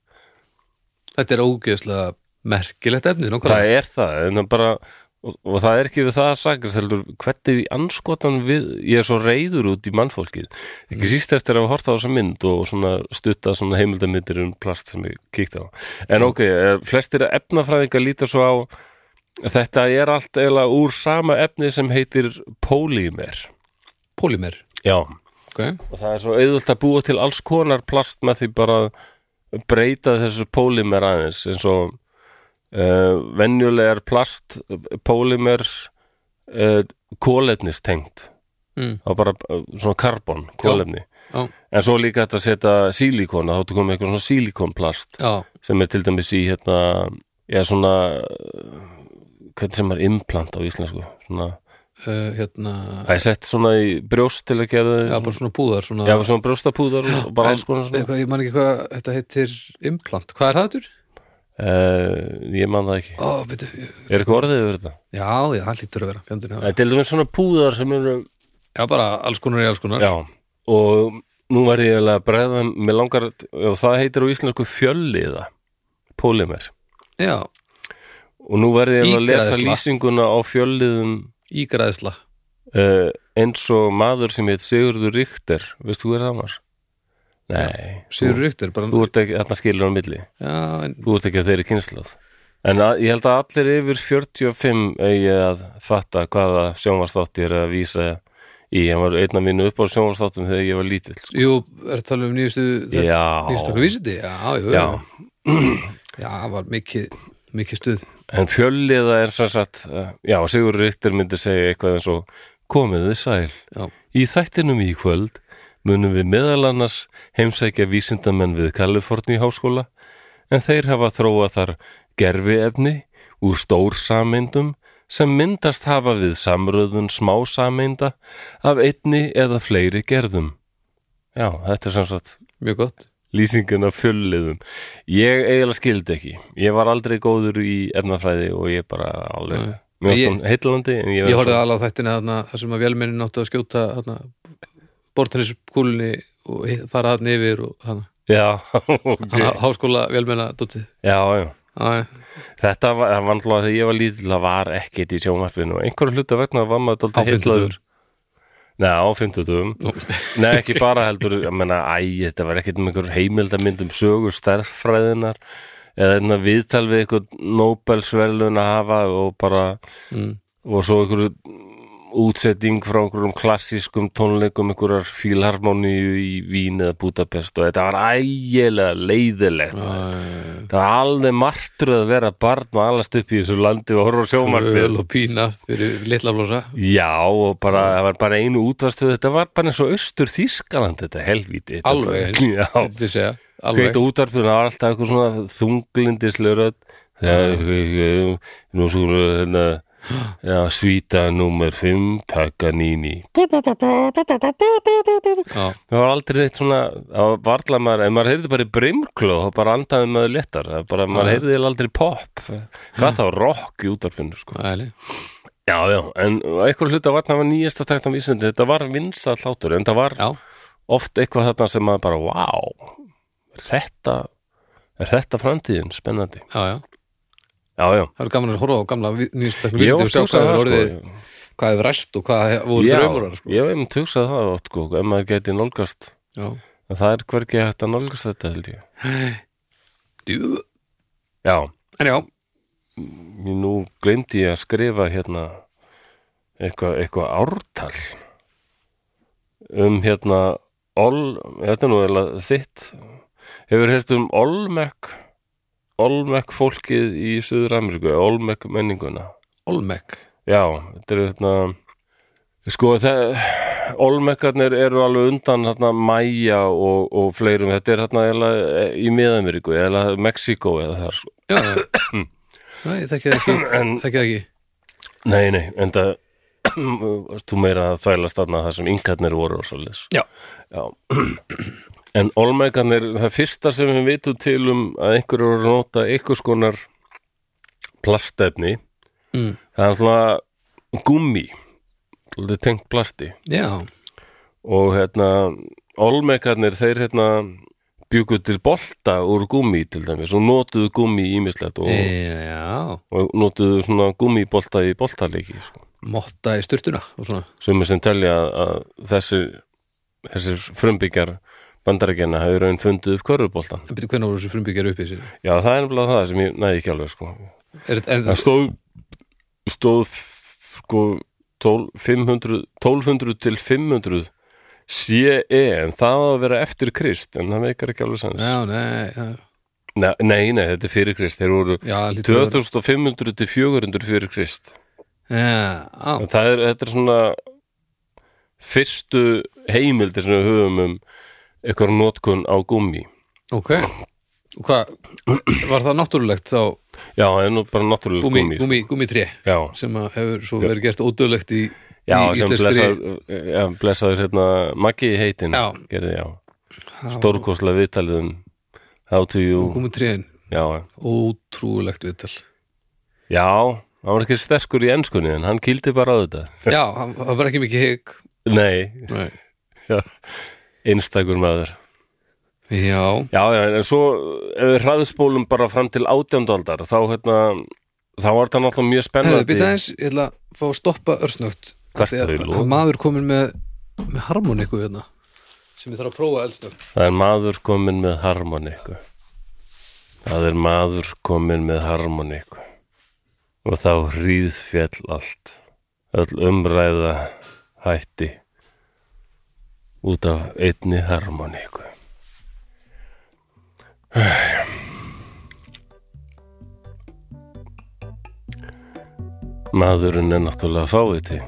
þetta er ógeðslega merkilegt efni, nákvæmlega það er það, en það bara og, og það er ekki við það að sakast heldur hvernig í anskotan við, ég er svo reyður út í mannfólkið, ekki síst eftir að hafa horta á þessa mynd og svona stutta svona heimildamindir um plast sem ég kíkti á en ok, eh, flestir efnafræðingar líta svo á að þetta er allt eiginlega úr sama efni sem heitir polymer polymer, já, ok, og það er svo auðvöld að búa til alls konar plast með því bara að breyta þessu pólimer aðeins eins og uh, venjulegar plast pólimer uh, kólefnis tengt Mm. þá bara uh, svona karbon kólefni já, en svo líka þetta að setja sílíkona þá áttu komið eitthvað svona sílíkonplast já sem er til dæmis í hérna já svona eh, hvernig sem er implant á íslensku svona, uh, hérna, það er sett svona í brjóst til að gera já, þau bara svona púðar svona, já, svona brjóstapúðar og og bara En alls konar svona eitthvað, ég man ekki hvað þetta heitir implant, hvað er það þetta? Uh, ég man það ekki Ó, byrju, ég- Er eitthvað orðið yfir þetta? já, já, það lítur að vera fjandinn, já. Þetta er alveg svona púðar sem eru já, bara alls konar í alls konar Já, og nú var ég eiginlega að bregða Mér langar, og það heitir á íslensku fjölliða Pólimer já Og nú var ég eiginlega að lesa Ígræðsla. lýsinguna á fjölliðum ígræðsla uh, eins og maður sem heit Sigurður Ríkter Veistu hver það var? Nei, Sigur Ríktur, bara þú ert ekki, þarna skilur á milli já, en, Þú ert ekki að þeirri kynnslað En að, ég held að allir yfir 45 eigi að fatta hvaða sjónvarsþátt ég er að vísa í Ég var einn af mínu upp á sjónvarsþáttum þegar ég var lítill sko. jú, er að tala um nýjustu þetta- nýjustu Já, okkur vísindi, já, jú já já, það var mikið, mikið stuð En fjölliða er sem sagt eh, Já, Sigur Ríktur myndi segja eitthvað eins og Komið þið sæl já, Í þættinum í kvöld munum við meðal annars heimsækja vísindamenn við Kaliforni háskóla en þeir hafa þróað þar gerfiefni úr stór sameindum sem myndast hafa við samröðun smá sameinda af einni eða fleiri gerðum. Já, þetta er sem sagt mjög gott lýsingin af fjölliðum. Ég eiginlega skildi ekki. Ég var aldrei góður í efnafræði og ég bara alveg... Nei. Mér varst Ég- hún heillandi en ég, ég var horfði svo- alveg á þættina þarna, þar sem að vélmennin náttu að skjóta þarna, bortaniskúlunni og hi- fara þarna yfir og hana, Já, ok. hana háskóla vélmenna dóttið Já, já. já, já. Þetta var, það var náttúrulega þegar ég var lítill það var ekkit í sjónvarpinu og einhverju hluta vegna var á maður dálítið heillaður fimmtudagur Nei, á 50 Nei, ekki bara heldur, ég meina, æ, þetta var ekkert um einhver heimildamynd um sögur stærðfræðinar eða einna viðtal við eitthvað Nobelsverlun að hafa og bara, Mm. og svo einhver útsetting frá einhverjum klassískum tónleikum, einhverjar fílharmoníu í Vín eða Budapest og þetta var ægilega leiðilegt Æ, Það var alveg martröð að vera barn og alast upp í þessu landi og horfa á sjómarfið Öl og pína fyrir litla flosa Já, og bara, það var bara einu útvarstöð, þetta var bara eins og austur Þýskaland, þetta helvíti. Þetta Alveg var- Já, Þetta segja, alveg hveit útvarpið, það var alltaf eitthvað svona þunglindislega rödd. Já, nú svo, hérna, já, svíta númer 5, Paganini. Já, Það var aldrei neitt svona, það var varla maður, ef maður heyrði bara í brimkló, þá bara andaði maður léttar, það bara, maður Já. heyrði aldrei pop, hvað þá rock í útvarpinu, sko. æli Já, já, en eitthvað hluta var það var nýjasta tækt á vísindi, þetta var vinsa hlátur, en það var Já, oft eitthvað þarna sem maður bara, wow, er þetta, er þetta framtíðin, spennandi. já, já Já, já, Það eru gaman að horfa á gamla nýjastakni ég vísindi og oft sjá hvað hugsaði hefur það, orðið sko. hvað hefur ræst og hvað hef- voru Já, draumurar sko. ég hef einmitt hugsað það oft, sko, ef maður geti nálgast, Já, en það er hvergi hægt að nálgast þetta, held ég. Djú. Já, En já, ég nú gleymdi ég að skrifa hérna eitthvað, eitthvað ártal um hérna Ol, þetta er nú eða þitt hefur hérst um Olmec Olmec fólkið í Suður Ameríku, Olmec menninguna Olmec já, þetta er hérna sko, það Olmekarnir eru alveg undan hérna Maja og, og fleirum þetta er hérna eða í Miðameríku eða Mexíkó eða þar sko. Já, já. Nei, ég þekki það ekki en Þekki það ekki Nei, nei, en það þú meira að þvælast þarna það sem yngarnir voru og svoleiðis Já. Já. En olmægarnir, það fyrsta sem við vitum til um að einhverju voru að nota einhvers konar plastefni Mm. það er alltaf gummi þetta tengt plasti Já, og hérna olmægarnir, þeir hérna bjúku til bolta úr gummi til dæmis og notuðu gummi ímislegt og, e, já og notuðu svona gummibolta í boltaleiki sko Motta í sturtuna og svona sumir sem telja að- að þessir, þessir frumbyggjar bandarækjana hefur raun fundið upp körfuboltan. En byrju, hvernig voru þessu frumbyggjar upp í sér? Já, það er nefnilega það sem ég næði ekki alveg sko. Er, er, Það stóð, stóð sko 12 500 1200 til 500 CE, en það á að vera eftir Krist, en það meikar ekki alveg sanns. já, nei, já, Nei, nei, nei, þetta er fyrir Krist, þeir voru já, hlýtur að vera- 2500 til 400 fyrir Krist. Já, á, En það er, þetta er svona fyrstu heimildir sem við höfum um eitthvað notkun á gummi ok Og hvað, var það náttúrulegt þá já, en nú bara náttúrulega gúmi, gummi, gúmi, gúmi já, sem að hefur svo verið gert ódöðlegt í, já í sem íslenskri blessaður, já, blessaður hérna, Maggi heitin Já. gerði, já, stórkoslega viðtalið um how to you gúmi tréin, já, ótrúlegt viðtal já, hann var ekki sterkur í enskunni en hann kýldi bara á þetta Já, hann- það var ekki mikið hygg nei, Nei. einstakur maður Já, Já, já, en svo ef við hraðspólum bara fram til átjándaldar þá hérna, þá var það náttúrulega mjög hefðu, spennandi býta eins ég ætla að fá að stoppa örsnögt Hvert Af því að er lofið? að maður komin með, með harmoniku hérna sem ég þarf að prófa eldsnögt Það er maður komin með harmoniku Það er maður komin með harmoniku og þá hríð fjall allt öll umræða hætti út af einni harmoniku Maðurinn er náttúrulega fáviti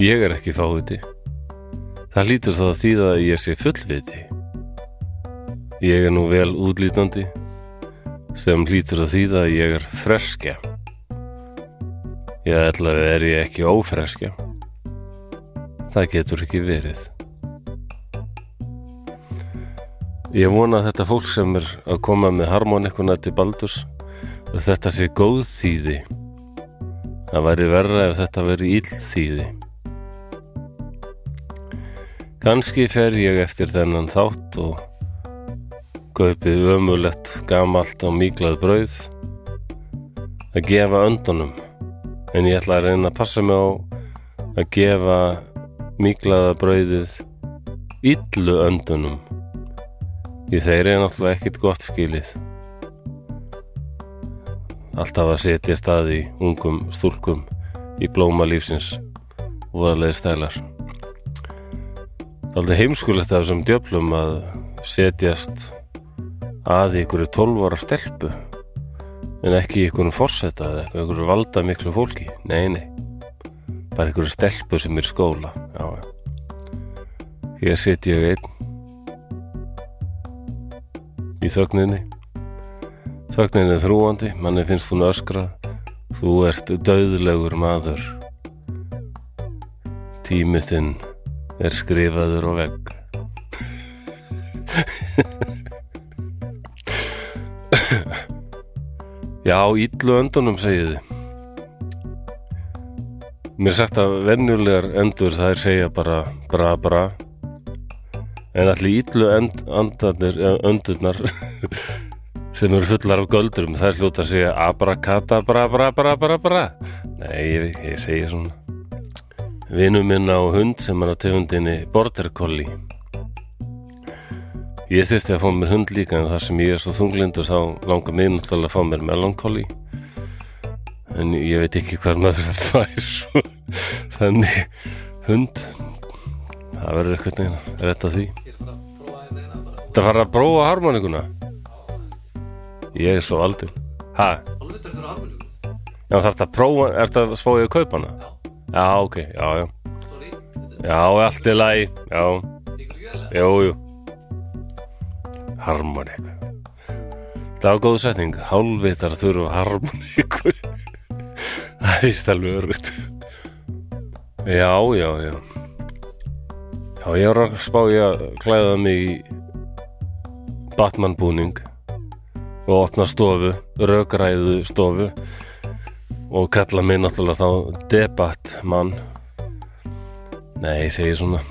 Ég er ekki fáviti Það lítur það að þýða að ég sé fullviti Ég er nú vel útlítandi sem hlýtur að þýða að ég er freskja. Ég ætla að er ég ekki ófreskja. Það getur ekki verið. Ég vona að þetta fólk sem er að koma með harmonikuna til Baldurs að þetta sé góð þýði. Það væri verra ef þetta væri ill þýði. Kanski fer ég eftir þennan þátt og kaupið ömulegt, gamalt og míglað brauð að gefa öndunum en ég ætla að reyna að passa mig á að gefa miklaða brauðið illu öndunum því þeir eru náttúrulega ekkit gott skilið alltaf að setja staði ungum stúlkum í blóma lífsins voðalegi stælar Þaldi heimskulegt af þessum djöflum að setjast að í ykkur 12 ára stelpu en ekki ykkur forseta eða eitthvað, ykkur valda miklu fólki nei, nei bara ykkur stelpu sem er í skóla já, já Hér sit ég einn í þögninni þögninni er þrúandi manni finnst hún öskra þú ert döðlegur maður tími þinn er skrifaður á vegg Já, illu öndunum segiði Mér er sagt að venjulegar endur þær segja bara bra bra En allir ítlu end, andarnir, eh, öndurnar sem eru fullar af göldrum, það er hljóta að segja abrakadabrabrabrabrabra. Nei, ég, veit- ég segja svona. Vinur minn á hund sem er á tegundinni Border Collie. Ég þyrfti að fá mér hund líka en þar sem ég er svo þunglindur þá langar mig náttúrulega að fá mér Melancholy. En ég veit ekki hvað maður fær svo. Þannig hund, það verður eitthvað neina, rétt að því. Þetta fara að prófa harmonikuna? Ég er svo aldil Hæ? Já, þarf þetta að prófa, er þetta að spá ég að kaupa hana? Já, ok, já, já Já, allt er lægi, já Jú, jú Harmoniku Það var góð setning Hálvitar þurfa harmoniku Það er víst alveg örugt Já, já, já Já, ég var að spá ég að klæða mig í Batman búning og opna stofu, rökræðu stofu og kalla mig náttúrulega þá debattmann Nei, ég segi svona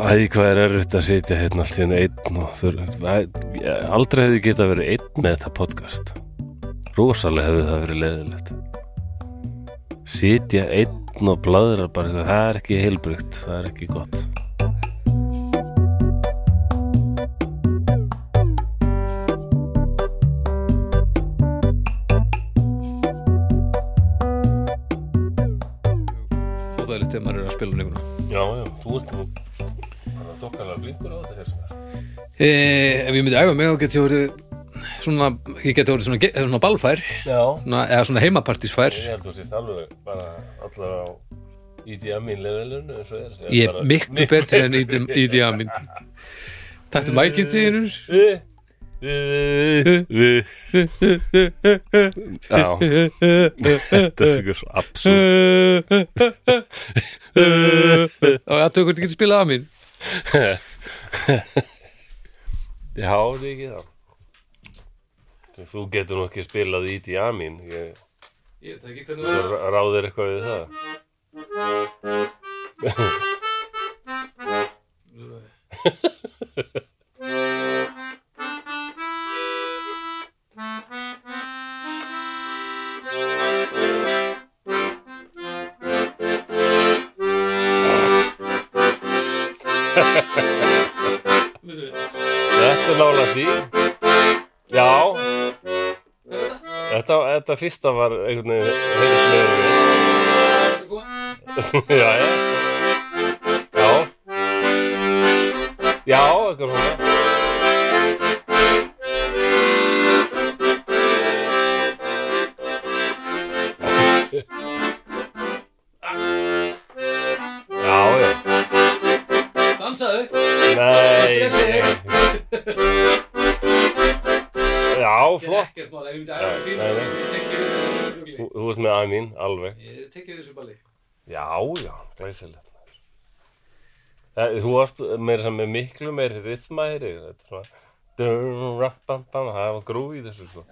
Æ, hvað er erfitt að sitja hérna allt í hennu einn og þur... Æ, ég- aldrei hefði geta verið einn með þetta podcast Rosalega hefði það verið leiðilegt Sitja einn og bladra bara eitthvað, það er ekki heilbrygt, það er ekki gott óþægilegt þegar maður er að spila um einhvern Já, já, þú ert nú bara þokkalega blinkur á þetta hér sem er. e, ef ég myndi æfa mig þá get ég orðið svona, ég get orðið svona, ge- svona balfær Já, svona, eða svona heimapartísfær ég held þú sést alveg bara allar á IDM í leðilun eins og er. ég er miklu betri en ídja minn taktu mækinn þínur Já, þetta er ekki svo absúl. og aðtöku hvort ég geti spilað að mín Já, það er ekki það. Þú getur nú ekki spilað IDM í, ég ég veit ekki hvernig Þú r- ráðir eitthvað við það Þetta er nála því Já Þetta, þetta fyrsta var einhvern veginn heyrðist með Já, já Já Já, eitthvað svona Já, já dansaðu Nei Þetta er Já, flott ekkert mál, ef ég myndi æfa mig fínu, Nei, nei. Þú, þú ert með aðeins mín, alveg ég tekja þessu balli Já, já, glæsilegt maður. Það- Þú varst meira sem með miklu meiri rytma heyri Þetta er svona dun, rap, bam, bam, Það var grúf í þessu sko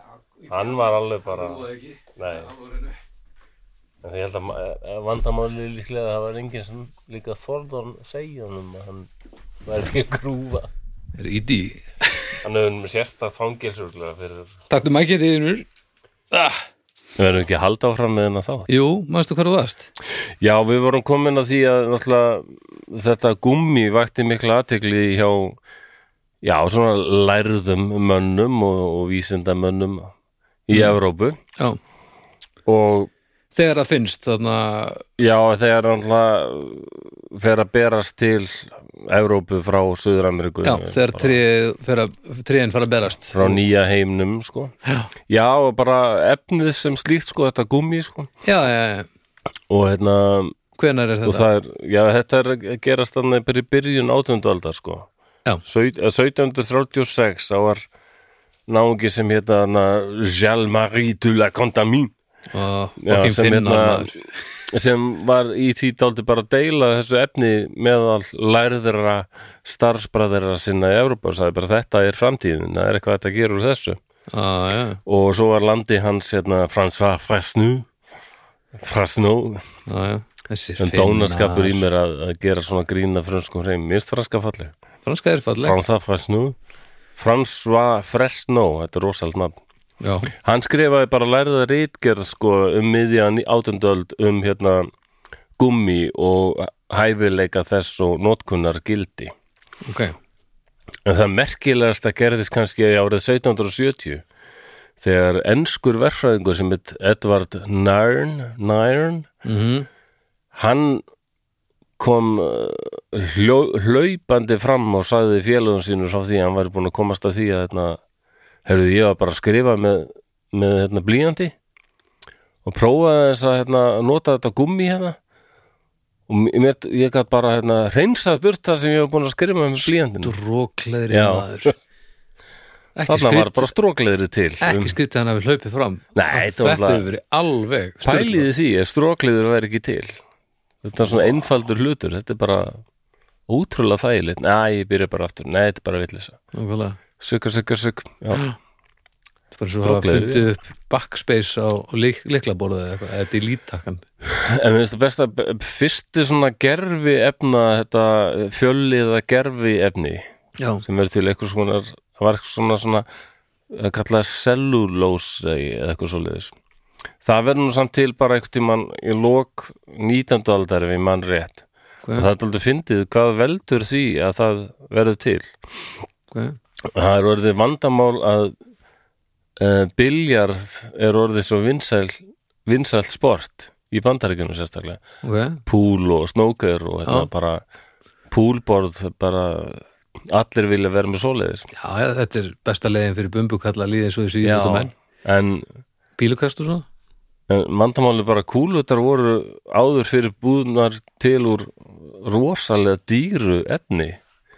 Hann var alveg bara ekki Nei, en ég held að ma- eh, vandamálið er líklega að það var enginn sem líka Þorðan segja honum að hann væri ekki að grúfa er ídí Hann hefur sérstakt fangilsuglega fyrir taktu mækinn þínur ah, Við verðum ekki að halda áfram með hennar þá. Jú, manstu hvað þú varst? Já, við vorum komin að því að náttúrulega þetta gummi vakti mikla aðtegli hjá já, svona lærðum mönnum og, og vísindamönnum í Evrópu Já, Mm. og þegar það finnst þarna já, þegar náttúrulega fer að berast til Evrópu frá Suður-Ameríku Já, þegar tréð, fer að- tréin fara að berast frá nýja heimnum, sko Já, Já, og bara efnið sem slíkt, sko, þetta gummi, sko já, já, já. og hérna, hvenær er og þetta? það er já, þetta er að gerast þannig byrja byrjun átundaldar, sko Já. Sau- eh, 1736 þá var náungi sem hérna Jean-Marie de la Condamine Og Já, fokkin sem finnar hérna- maður sem var í því dáldi bara að deila þessu efni meðal lærðra starfsbræðra sinna í Evrópa og sagði bara þetta er framtíðin, það er eitthvað hægt að gera úr þessu Já, já, og svo var landi hans hérna François Fresnu Fresnu, já, já Þessi en dónaskapur í mér að, að gera svona grína frönskum hreim, mér er franska falleg Franska er falleg François Fresnu François Fresno, þetta er rosald nafn Já, Hann skrifaði bara lærða rítgerð sko um miðjan átundöld um hérna gummi og hæfileika þess og notkunnar gildi. ok En það merkilegasta gerðist kannski árið 1770 þegar enskur verfræðingur sem heit Edward Nairn, Nairn Mhm. hann kom uh, hljó, hlaupandi fram og sagði félögum sínur frá því að hann væri búin að komast að því að hérna, herrðu ég var bara að skrifa með, með hérna, blíjandi og prófaði þess að hérna, nota þetta gummi hérna og mér, ég gætt bara hérna, reynsað burt það sem ég var búin að skrifa með blíjandin Drókleðri Já. maður Ekki þarna var skrýtt bara strókleðri til um Ekki skrýtt að hann hafi hlaupið fram Nei, þetta Þetta var hefur alltaf verið alveg sturlað. pæliði því ef strókleður væri ekki til þetta er svona einfaldur hlutur þetta er bara ótrúlega þægilegt næ, ég byrja bara aftur, nei, þetta er bara villisa Nákvæmlega sukka, sukka, sukk já, Þetta er bara svo að Strákleðri. fundið upp backspace á lik, liklaborðið eða eitthvað, eða delete-takkan en minnst það besta b- b- fyrsti svona gerfi efna þetta fjölliða gerfi efni Já, sem er til eitthvað svona það var eitthvað svona, svona það kallaði cellulose eða eitthvað svoleiðis það verður nú samt til bara eitthvað tímann í lok 19. aldar ef ég mann rétt og hvað, það er aldrei fyndið hvað veldur því að það verður til hvað það er orðið vandamál að uh, biljarð er orðið svo vinsæl, vinsælt sport í bandaríkjunum sérstaklega Ok, púl og snóker og þetta Já. bara púlborð bara allir vilja vera með svoleiðis já, já, þetta er besta leiðin fyrir bumbukalla líðin svo þessu íþjóttamenn en, Bílukast og svo en vandamál er bara kúlutar voru áður fyrir búðnar til úr rosalega dýru efni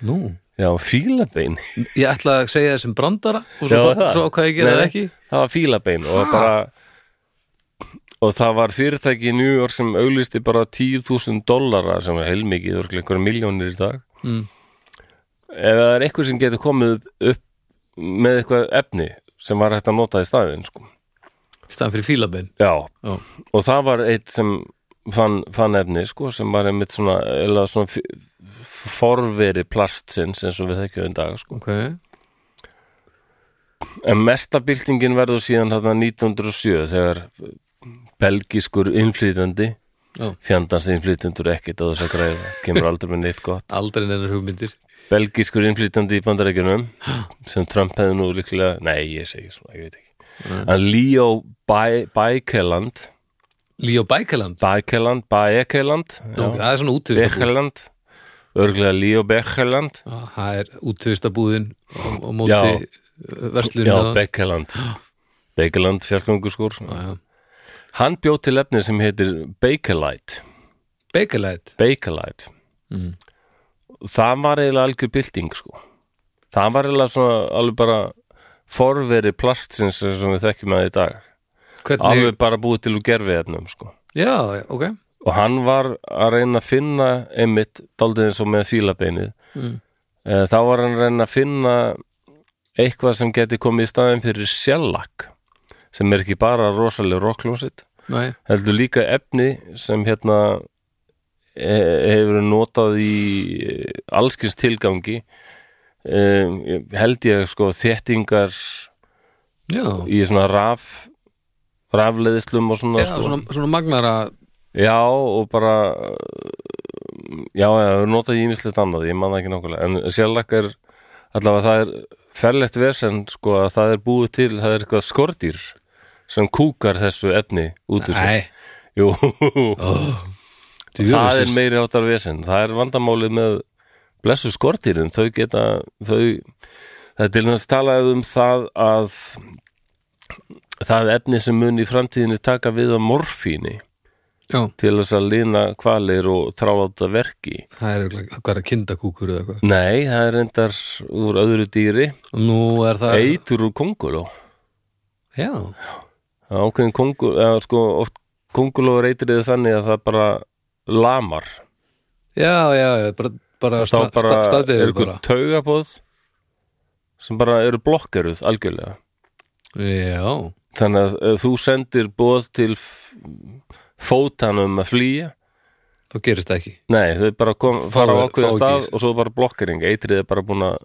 Nú, já, fílabein ég ætla að segja þessum brandara og svo, Já, já, það. svo hvað ég gera Nei. það ekki það var fílabein og bara og það var fyrirtæki í New York sem auglisti bara 10.000 dollara sem er heilmikið, það er einhverja miljónir í dag Mm. ef það er eitthvað sem getur komið upp með eitthvað efni sem var hægt að nota í staðin sko. í staðan fyrir fílabein já, Já. og það var eitt sem fann, fann efni sko, sem var einmitt svona, eiginlega svona f- f- forveri plastsins eins og við þekkjum í dag sko. Ok, En mesta byltingin verður síðan þarna 1907 þegar belgiskur innflytandi Já. fjandans innflytendur ekkit á þess að græða það kemur aldrei með neitt gott aldrei neinar hugmyndir belgiskur innflytandi í bandarækjunum sem Trump hefði nú líklega nei, ég segi svona, ég veit ekki en Leo Bæ- Bækeland Líó Bækaland, Bækeland, Bækeland Nú, það er svona útvistabúð Bækeland örglega Leo Bækeland Það er útvistabúðin og, og móti Já. verslun já, Bækeland Bækeland fjallgöngu skur hann bjóð til efni sem heitir Bakelite Bækalætt Bakelite Mm. það var eiginlega algjör bylting sko. það var eiginlega svona alveg bara forveri plastsins eins og við þekkjum að í dag Hvernig, alveg bara búið til úr gerfiðefnum sko. já, já, ok og hann var að reyna að finna einmitt, daldið eins og með fílabeinið Mm. Eh, þá var hann að reyna að finna eitthvað sem geti komið í staðin fyrir sjallak sem er ekki bara rosaleg rockljónsitt Nei, heldur líka efni sem hérna e hefur verið notað í eh, allskins tilgangi um, held ég sko þéttingar já, í svona raf rafleiðislum og svona, já, sko. svona, svona magnara já og bara uh, já, já, við notaði ímislegt annað ég man það ekki nákvæmlega, en sjálflak er allavega það er ferlegt versen sko að það er búið til, það er eitthvað skordýr sem kúkar þessu efni út úr sér Nei, Jú, oh, það er meiri áttar vesen það er vandamálið með blessu skortýrin, þau geta þau, það er til þess talað um það að það efni sem mun í framtíðinni taka við af morfíni já, til þess að lína kvalir og þráláta verki það er örugglega- hvað er að kindakúkur eða eitthvað nei, það er reyndar úr öðru dýri nú er það eitur úr konguló já, Það er ákveðin konguló, eða sko oft konguló reytir þið þannig að það bara lamar já, já, já bara, bara, þá sta- bara sta- staðið eru við ykkur bara taugabóð sem bara eru blokkeruð algjörlega já, þannig að ef þú sendir bóð til f- fótanum að flýja þá gerist það ekki nei þau bara kom, Fá- fara á fá ákveða ekki. stað og svo bara blokkering eitrið er bara búin að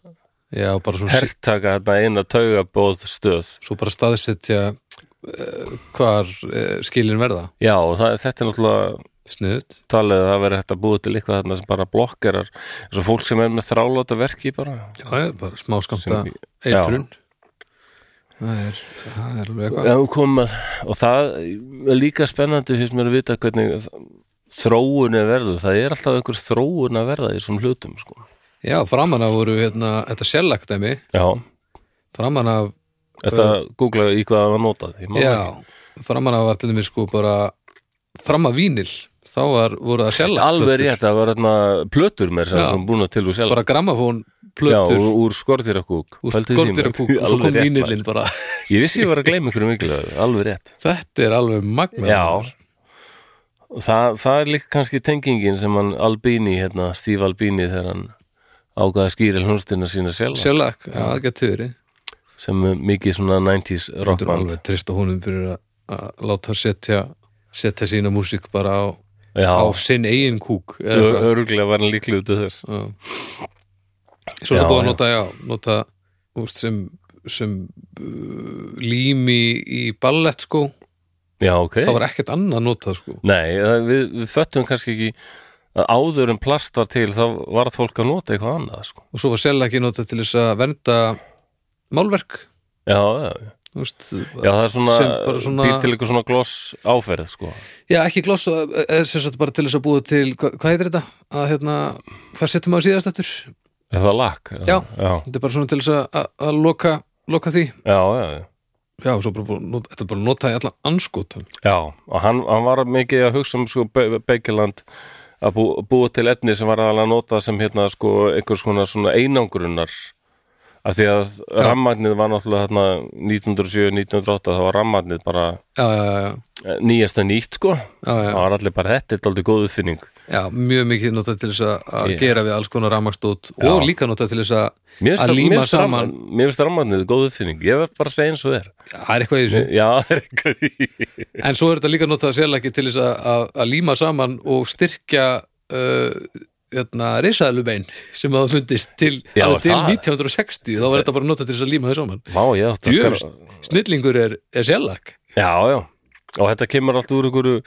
já, bara svona hertaka þetta eina taugabóð stöð svo bara staðsetja uh, hvar uh, skilin verða já og það, þetta er náttúrulega snuðt talið að það verður hægt að búið til eitthvað þarna sem bara blokkerar eins og fólk sem er með þráláta verki bara já, já, bara smá skamta Sem- já. eitrun það er, það er alveg eitthvað Já, komað og það er líka spennandi fyrst mér að vita hvernig þ- þróun er verður, það er alltaf einhver þróun að verða í þessum hlutum sko. já, framan af voru hérna, þetta sjellagdæmi Já, framan af, þetta googlaði í hvað það var notað ég man það já framan af var til þeim sko bara fram af vínil, þá var, voru það ekki. sjellag Alveg rétt, það var hérna plötur mér sem, Já. sem búin að til og sjálf bara grammafón Já, plötur úr, úr skortýrakúk úr skortirakúk og svo kom vínilinn bara Ég vissi ég var að gleyma einhverjum mikilvæg, alveg rétt þetta er alveg magna Já. Og það, það er líka kannski tengingin sem hann Albini, hérna, Steve Albini þegar hann ákvaða skýri hljónstina sína sjálf sjellag, já, það getur verið sem er mikið svona 90s Þetta er rockband alveg trist á honum fyrir að, að láta setja, setja sína músík bara á, á Já, sinn eigin kúk eða Ö- eitthvað. örgulega var hann líklega út af þess Já. Svo er Já, það búið að já. nota, já, nota úst, sem, sem uh, lími í ballett sko Já, ok það var ekkert annað notað sko Nei, það- við, við föttum kannski ekki að áður en plast var til þá var fólk að nota eitthvað annað sko. og svo var sérlega ekki notað til þess að vernda málverk já, já, já. úst, já, það er svona, Sem bara svona- býr til eitthvað svona gloss áferð sko. já, ekki gloss eh, eh, sem sagt bara til þess að búið til hvað, hvað heitir þetta? að hérna, hvað setjum maður síðast eftir? Er það lakk? Já. Já, þetta er bara svona til þess að- að, að loka, loka því já, já, já. Já, og svo bara, búið að nota- þetta er bara að nota í allan anskotum já og hann, hann var mikið að hugsa um sko, Be Bekiland að bú, búa til efni sem var aðalega notað sem hérna sko einhvers konar svona einangrunar af því að rammagnið var náttúrulega þarna 1907-1908 þá var rammagnið bara Já, já, já, eh, nýjasta nýtt sko já, já, það var allir bara þetta, þetta er aldrei góð uppfinning já mjög mikið notað til þess að- að Ég- gera við alls konar rafmakstót og líka notað til þess að mér Að finnst líma mér finnst saman. ramma- mér finnst rammagnið góð uppfinning ég verð bara að segja eins og þér það er eitthvað í þessu, já, það er eitthvað í- en svo er þetta líka notað sérlega til þess að, að, að líma saman og styrkja uh, hérna, risaðlubein sem hafa fundist til, Já, alveg til það- 1960 þá var þetta bara notað til þess að líma þau saman Vá, ég átti að Djöfust, skara snillingur er, er sérlag já, já, og þetta kemur allt úr einhverju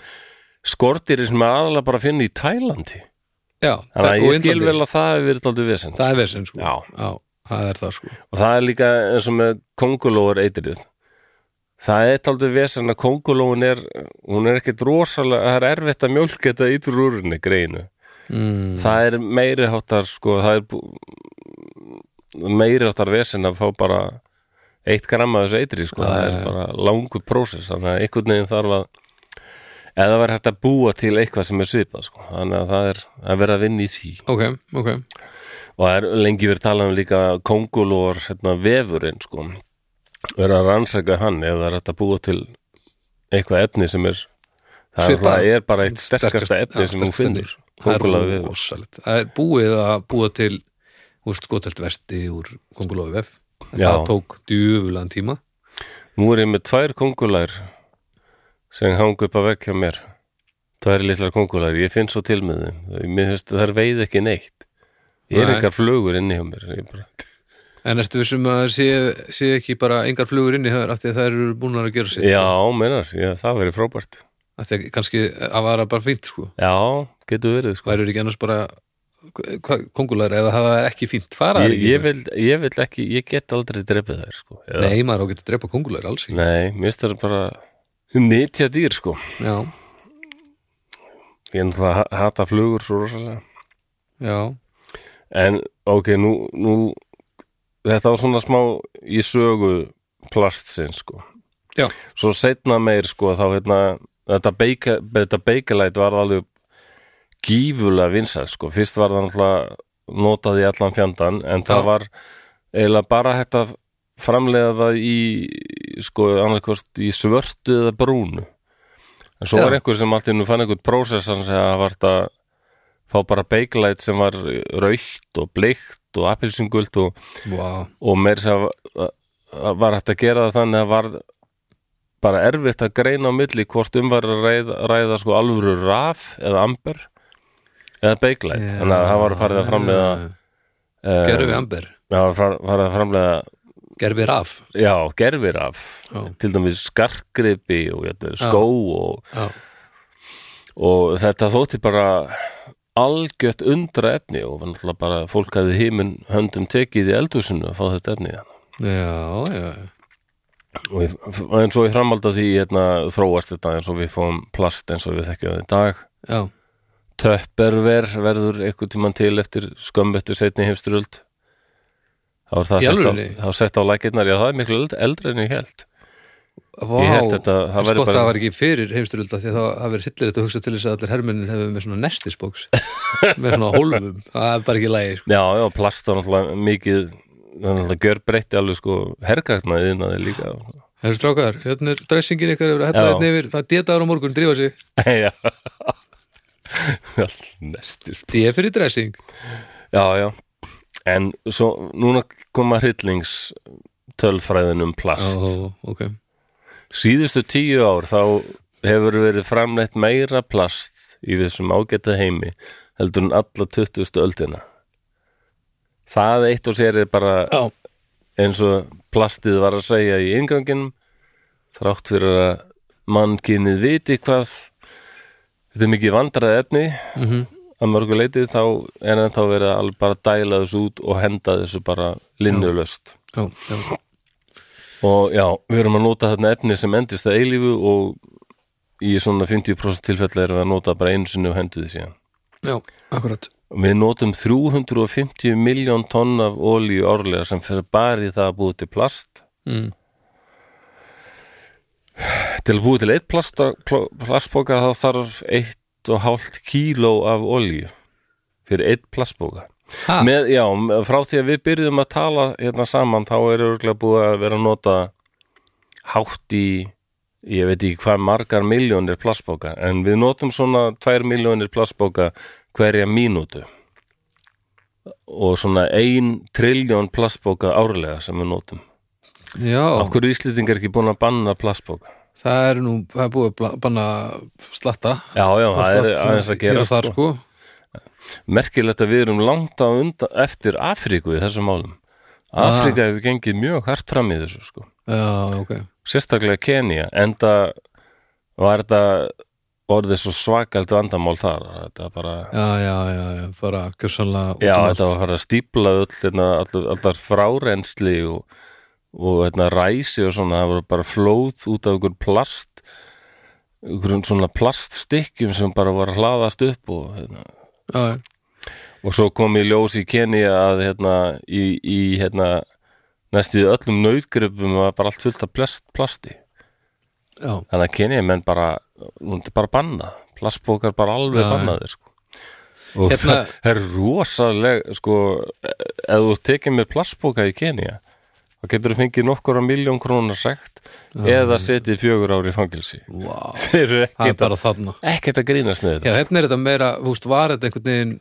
skortýri sem er aðalega bara að finna í Tælandi Já, þannig og að ég skil Indlandi. vel að það hefur verið aldrei vesend það er vesinn sko Já. það er það sko og það er líka eins og með kongulóar eitrið það er aldrei vesend að kongulóin er hún er ekkit rosalega, það er erfitt að mjólka þetta eitur úr henni greinu mm. það er meiri háttar sko, það er bú- meiri háttar vesen að fá bara eitt gram af þessu eitri sko, Já, það já, já. er bara langur prósess þannig að einhvern veginn þarf að eða verður hægt að búa til eitthvað sem er svipað sko. þannig að það er að vera að vinna í því ok, ok og það er lengi verið talað um líka kongulóar hérna, vefurinn sko er að rannsaka hann ef það er hægt að búa til eitthvað efni sem er það er, Svipað. það er bara eitt sterkasta efni já, sem hún sterkasta finnur efni. kongulóar það er vefur rosalegt það er búið að búa til úr skotelt vesti úr kongulófi vef En Já. það tók djöfulegan tíma Nú er ég með tvær kongulær sem hanga upp að vekja mér. Tvær litlar kongulær, ég finn svo til með þeim. Mér finnst að það veið ekki neitt. Ég er Nei. eitthvað flugur inni hjá mér. Ég bara, En ertu vissum að það sé, sé ekki bara engar flugur inn í höfður af því að það eru búnar að gera sér Já, meinar, já, það verið frábært af því að kannski að vara bara fínt sko Já, getur verið sko. væri ekki annars bara kongular eða það er ekki fínt fara ég, ég, vil, ég vil ekki, ég get aldrei drefið þær sko. Já. Nei, maður á ekki að drepa kongular alls ekki Nei, mér finnst það bara um nýtja dýr sko Já, Ég náttúrulega ha- hata flugur svo rosalega já, En ok, nú, nú þetta var svona smá í sögu plastsinn sko já, Svo setna meir sko þá hérna þetta, beika, þetta beikalæt var alveg gífulega vinsæl sko Fyrst var það náttúrulega notað í allan fjandan en það Já. var eiginlega bara þetta framleiða það í sko annarkost í svörtu eða brúnu en svo Já. var einhver sem alltaf nú fann einhvern prósessan sem að varst að fá bara beikalæt sem var raukt og bleikt og appilsingult og vá og meir sem var hægt að gera það þannig að var bara erfitt að greina á milli hvort um var að ræða, ræða sko alvöru raf eða amber eða beiklæt Já. þannig að það var farið að framleiða Gerfi eh, amber, það var far- farið að framleiða gerfi raf já, gerfi raf Já. til dæmis skarkgripi og jæta, skó og, Já, og þetta þótti bara algjört undra efni og var náttúrulega bara fólk hafði híminn höndum tekið í eldhúsinu að fá þetta efni þannig já, já og í- og eins og ég framhalda því hérna, þróast þetta eins og við fáum plast eins og við þekkjum það í dag Já, töpperver verður einhvern tímann til eftir skömm eftir setni heimsturöld þá er það Í sett á, alvörunni? þá er sett á lækirnar já það er miklu eld- eldra en ég held Vá, Ég held þetta- það en væri skott bara- að það var ekki fyrir heimsturölda því að það það verið hillilegt að hugsa til þess að allir hermennin hefur með svona nestisbóks með svona hólfum, það er bara ekki lægi sko. já já plast er náttúrulega mikið það er náttúrulega gjörbreytti alveg sko hergagnaði innan þið líka Hefur strákar, hérna er dressingin ykkar hefur að hella Já. þetta yfir, það er détaður á morgun, drífa sig já næstur D fyrir dressing já já en svo núna koma hryllings tölfræðin um plast Ó, ok síðustu tíu ár þá hefur verið framleitt meira plast í þessum ágæta heimi heldur en alla 20. öldina það eitt og sér er bara Já, eins og plastið var að segja í ingangin þrátt fyrir að mannkynið viti hvað þetta er mikið vandrað efni mhm. að mörgu leiti þá er ennþá verið að alveg bara dæla þessu út og henda þessu bara linnulöst já, já, og já, við erum að nota þarna efni sem endist að eilífu og í svona 50% tilfella erum við að nota bara einu sinni og hendu því síðan já, akkurat við notum 350 miljón tonn af olíu árlega sem fyrir bara í það að búið til plast mm. til að búið til eitt plast, pl- plastboka þá þarf eitt og hálft kíló af olíu fyrir eitt plastboka Ha, Með, já, með- frá því að við byrjum að tala hérna saman, þá er örgulega búið að vera að nota hátt í, ég veit ekki hvað margar miljónir plastbóka, en við notum svona tvær miljónir plastbóka hverja mínútu og svona ein triljón plastbóka árlega sem við notum. já, Af hverju Íslendingar ekki búin að banna plastbóka? það er nú það er búið að bla- banna slatta Já, já, það er Slatt, aðeins hér að gera og sko. þar, sko. merkilegt að við erum langt á undan eftir Afríku í þessum málum. Ah. Afríka hefur gengið mjög hart fram í þessu, sko. Já, ok sérstaklega Kenya enda var þetta orðið svo svakalt vandamál þar þetta bara, Já, já, já, já, bara gjössanlega út já, um þetta var allt. að fara að stípla öll, hérna, all, allar frárensli og, og hérna, ræsi og svona, það voru bara flóð út af ykkur plast ykkur svona plaststykkjum sem bara var að hlaðast upp og, hérna. Já, já, og svo kom í ljós í Kenya að hérna, í, í hérna, næstu í öllum nautgripum var bara allt fullt af plast, plasti já, þannig að kynja menn bara hún er bara bannað, plastbókar bara alveg Já, bannaðir sko. og Hérna- það er rosaleg sko, ef þú ert tekið með plastbóka í Kenya þá getur þú fengið nokkura miljón krónar sekt eða setið fjögur ári fangilsi vá þeir eru Það er ekkert, bara þarna að- ekkert að grínast með Já, þetta hérna er þetta meira, þú veist, var þetta einhvern veginn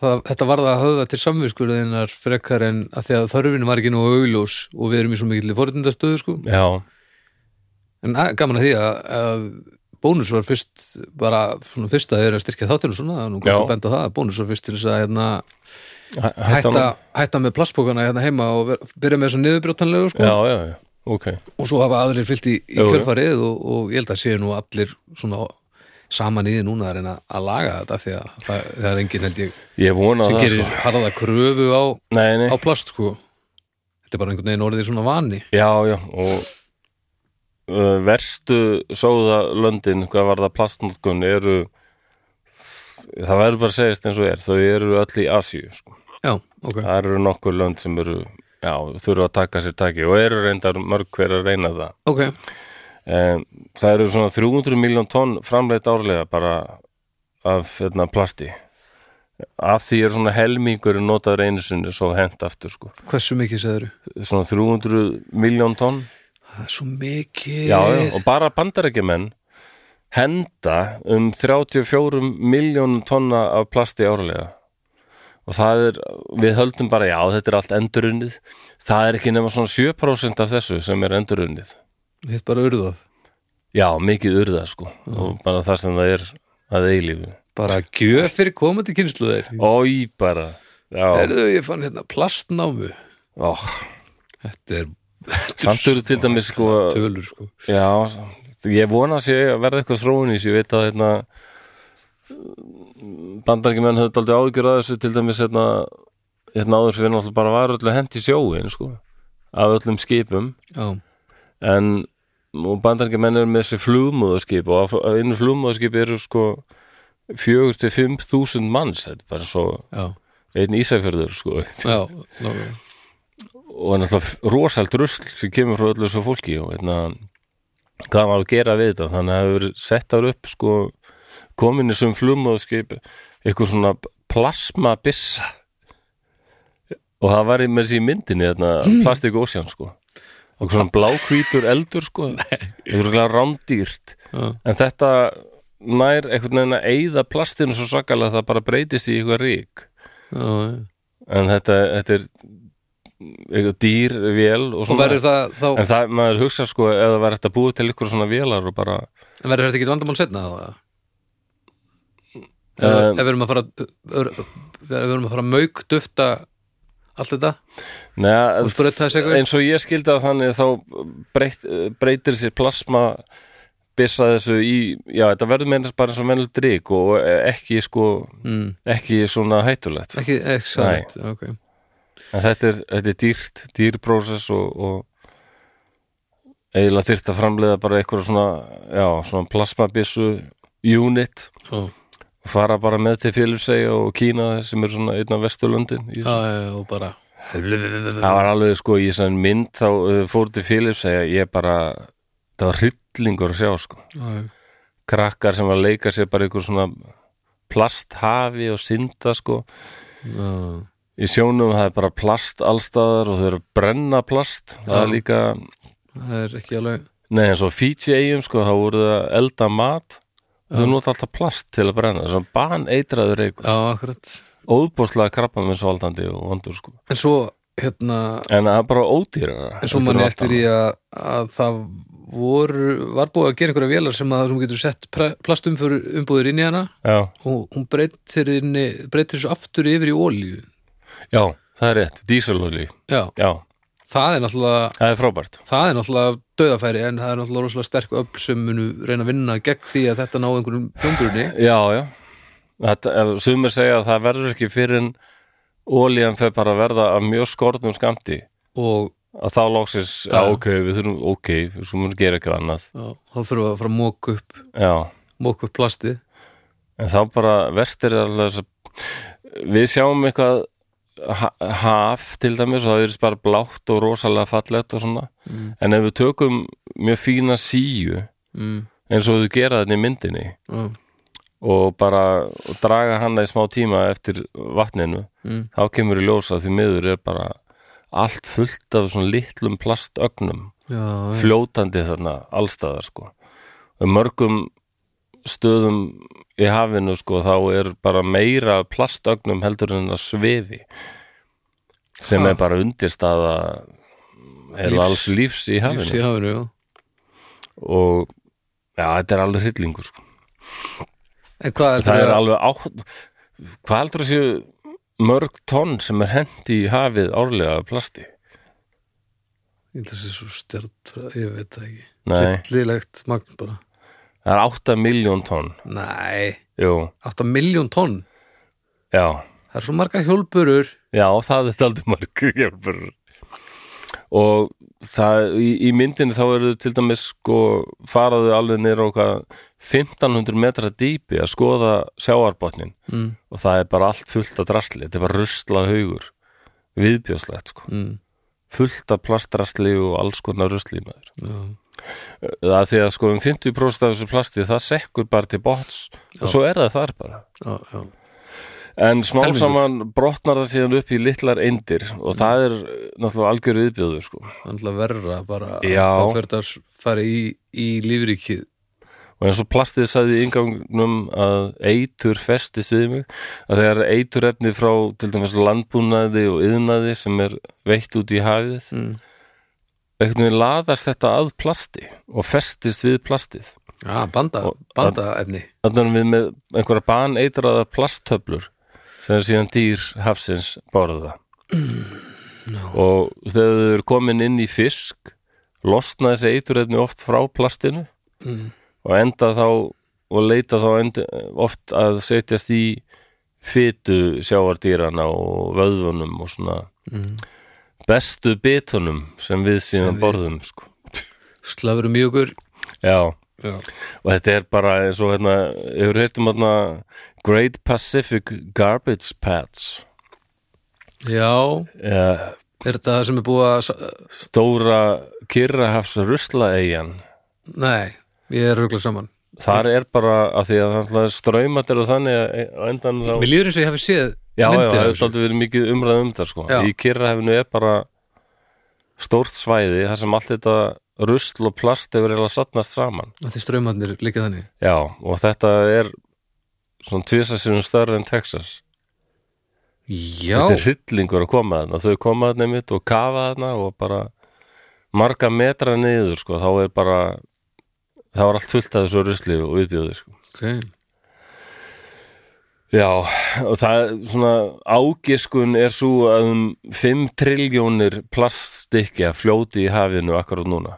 það, þetta var það að höfða til samvinskurðinnar frekar en að því að þörfin var ekki nú augljós og við erum í svo mikill fórhundastöðu sko. já, en að, gaman að því að, að bónus var fyrst bara svona fyrst að þeir eru að styrkja þáttinu svona, nú gott Já. að benda á það bónus var fyrst til þess að hérna Hæ- hætta, nú? hætta með plastbókana hérna heima og ver- byrja með þessu niðurbrjótanlegu sko. Já, já, já, ok og svo hafa aðrir fyllt í, í Jú, jú. kjölfarið og, og ég held að séu nú allir svona saman í því núna að reyna að laga þetta því að það, það er engin held ég Ég vona sem það, gerir sko harða kröfu á, Nei, nei, á plast sko þetta er bara einhvern veginn orðið svona vani já, já og uh, verstu sóðalöndin, hvað var það plastnotkun eru það verður bara að segjast eins og er þau eru öll í Asíu, sko já, ok, það eru nokkur lönd sem eru já, þurfa að taka sér taki og eru reyndar mörg hver að reyna það ok um, það eru svona 300 miljón tonn framleitt árlega bara af hérna, plasti af því er svona helmingur notaður einu sinni svo hent aftur sko hversu mikið segður svona 300 miljón tonn það er svo mikið já, já, og bara bandarækjumenn henda um 34 miljónum tonna af plasti árlega og það er, við höldum bara já, þetta er allt endurunnið það er ekki nema svona 7% af þessu sem er endurunnið hitt bara urðað, já, mikið urða sko og bara það sem það er að eilífu bara gjöf fyrir komandi kynslu þeir Ói, bara já, Erðu, ég fann hérna plastnámu ó, Þetta er samt eru til dæmis sko, tölur sko Já, ég vona að sé að verða eitthvað þróun í þessu, ég veit að hérna, bandarækjumenn höfðu aldrei áhyggjur að þessu til dæmis hérna, hérna áður fyrir náttúrulega bara var öllu hent í sjóin sko, af öllum skipum Já, en og bandarækjumenn eru með þessi flugmóðurskip og af- af innu flugmóðurskip eru sko 4-5.000 manns þetta er bara svo já, einn ísæfjörður sko já nákvæmlega. og náttúrulega rosalt rusl sem kemur frá öllu þessu fólki og hérna hvað maður að gera við þetta þannig að það hefur verið settar upp sko kominni sem flumóðskip eitthvað svona plasmabissa og það var í mér sér í myndinni þarna Plastic Ocean sko og svona bláhvítur eldur sko eitthvað rándýrt Já. en þetta nær einhvern veginn að eyða plastinu svo svakalega að það bara breytist í eitthvað rík Já, já. en þetta, þetta er eitthvað dýr vél og Og svona verður það þá, en það, maður hugsa sko ef það verður þetta búið til ykkur svona vélar og bara en verður þetta ekki vandamál setna þá það? Ef Um, ef við erum að fara ör- ef við erum að fara að mauk dufta allt þetta neða, Og sprauta þessu eitthvað? eins og ég skildi að þannig þá breyt, breytir sér plasma byssa þessu í, já þetta verður meina bara eins og mennul drikk og ekki sko mm, ekki svona hættulegt ekki exakt okay. en þetta er, þetta er dýrt, dýr prósess og, og eiginlega þyrft að framleiða bara eitthvað svona, já, svona plasmabissu unit Ó, fara bara með til Filipsey og Kína sem er svona einn af vesturlöndin í já, þessu. já, já, og bara það var alveg sko í þessan mynd þá uh, fór til Filipsey að ég bara það var hryllingur að sjá sko Já, já. krakkar sem var að leika sér bara ykkur svona plasthafi og synda sko Já. í sjónum það er bara plast allstaðar og þau eru að brenna plast það er Já. líka, það er ekki alveg nei eins og Fiji eigum sko þá voru það að elda mat þau Já. nota alltaf plast til að brenna svona baneitraður já, eitthvað, akkurat óbúslega krabba með svolítandi og vondur sko en svo hérna En það er bara ódýrara En svo manni eftir í að, að það voru, var búið að gera einhverja vélar sem að sem getur sett pre- plastumbúðir inn í hana já. og hún breytir, inni, breytir svo aftur yfir í ólíu. já, það er rétt, dísalolí Já, Já, það er náttúrulega það er frábært það er náttúrulega döðafæri en það er náttúrulega rosalega sterk öll sem munu reyna að vinna gegn því að þetta ná einhverjum hljómbrunni Já, já Þetta, ef Sumir segja að það verður ekki fyrir en ólíðan fer bara að verða af mjög skornum skamti og að þá loksins, já, Já. ok, við þurfum ok, við þurfum að gera eitthvað annað já, þá þurfum við að fara að móka upp Já, móka upp plastið. en þá bara vestir er alltaf þess að við sjáum eitthvað ha- haf til dæmis og það er bara blátt og rosalega fallegt og svona Mm. en ef við tökum mjög fína síu Mm, eins og þú gera þetta í myndinni já, og bara og draga hana í smá tíma eftir vatninu mm, þá kemur í ljós að því miður er bara allt fullt af svona litlum plastögnum já, já, fljótandi þarna allstaðar sko og mörgum stöðum í hafinu sko þá er bara meira af plastögnum heldur en að svefi sem Ha. er bara undirstaða Lífs. heila alls lífs í hafinu lífs í hafinu, já. og já, þetta er alveg hryllingur sko En hvað það heldur er að- alveg átt hvað heldur þessi mörg tonn sem er hendi í hafið árlega af plasti Ég held að það sé svo stjartra, ég veit það ekki Nei, Hryllilegt magn bara það er 8 miljón tonn Nei, Jú, 8 miljón tonn já Það er svo margar hjólburur Já, það er daldi margur hjálpur og það, í, í myndinu þá eru til dæmis sko faraðu alveg nýr okkar 1500 metra dýpi að skoða sjáarbotnin mm, og það er bara allt fullt af drasli, þetta er bara rusla haugur viðbjóðslegt sko mm, fullt af plastrasli og alls konar rusli maður. já, Það er því að sko um 50% af þessu plasti það sekkur bara til bots og svo er það þar bara já, já. En smám Helmingur. saman brotnar það síðan upp í litlar eindir og það er eh, náttúrulega algjör viðbjöður sko. Þannig að verra bara að Já. Þá fyrir það að fara í, í lífrikið Og eins og plastið sagði í ingangnum að eitur festist við mig að þegar eitur efni frá til dæmis landbúnaði og yðnaði sem er veitt út í hafið mm. einhvern veginn laðast þetta að plasti og festist við plastið. Já, banda, Og- bandaefni Þannig erum við með einhverja baneitraða plasttöflur sem síðan dýr hafsins borða. Mm, og þegar þau eru komin inn í fisk losna þessi eiturefni oft frá plastinu Mm. og enda þá og leita þá enda, oft að setjast í fytu sjáardýrana og vöðvunum og svona mm. bestu bitunum sem við síðan Sem við- borðum sko. Slöfrum í okkur Já, Já, og þetta er bara eins og hérna, hefur heilt um hérna Great Pacific Garbage Patch já eða er þetta það sem er búið að sa- stóra kyrrahafs ruslaeyjan Nei, ég er rugglað saman Þar er bara að því að það er ströymat eru þannig að e- á endan þá Mér líður eins og ég hafi séð Já, já, myndir það af hefur þessu aldrei verið mikið umræð um það sko. Já. Í Kyrrahefinu er bara stórt svæði þar sem allt þetta rusl og plast hefur eiginlega satnast saman að Því straumarnir líka þannig Já, og þetta er svona tvisasinnum stærri en Texas Já, Þetta er hryllingur að koma þarna Þau koma þarna mitt og kafa þarna og bara marga metra niður sko. þá er bara þá er allt fullt af þessu rusli og viðbjöðu sko. ok Já, og það svona ágiskun er svo að um 5 triljónir plaststykja fljóti í hafinu akkurat núna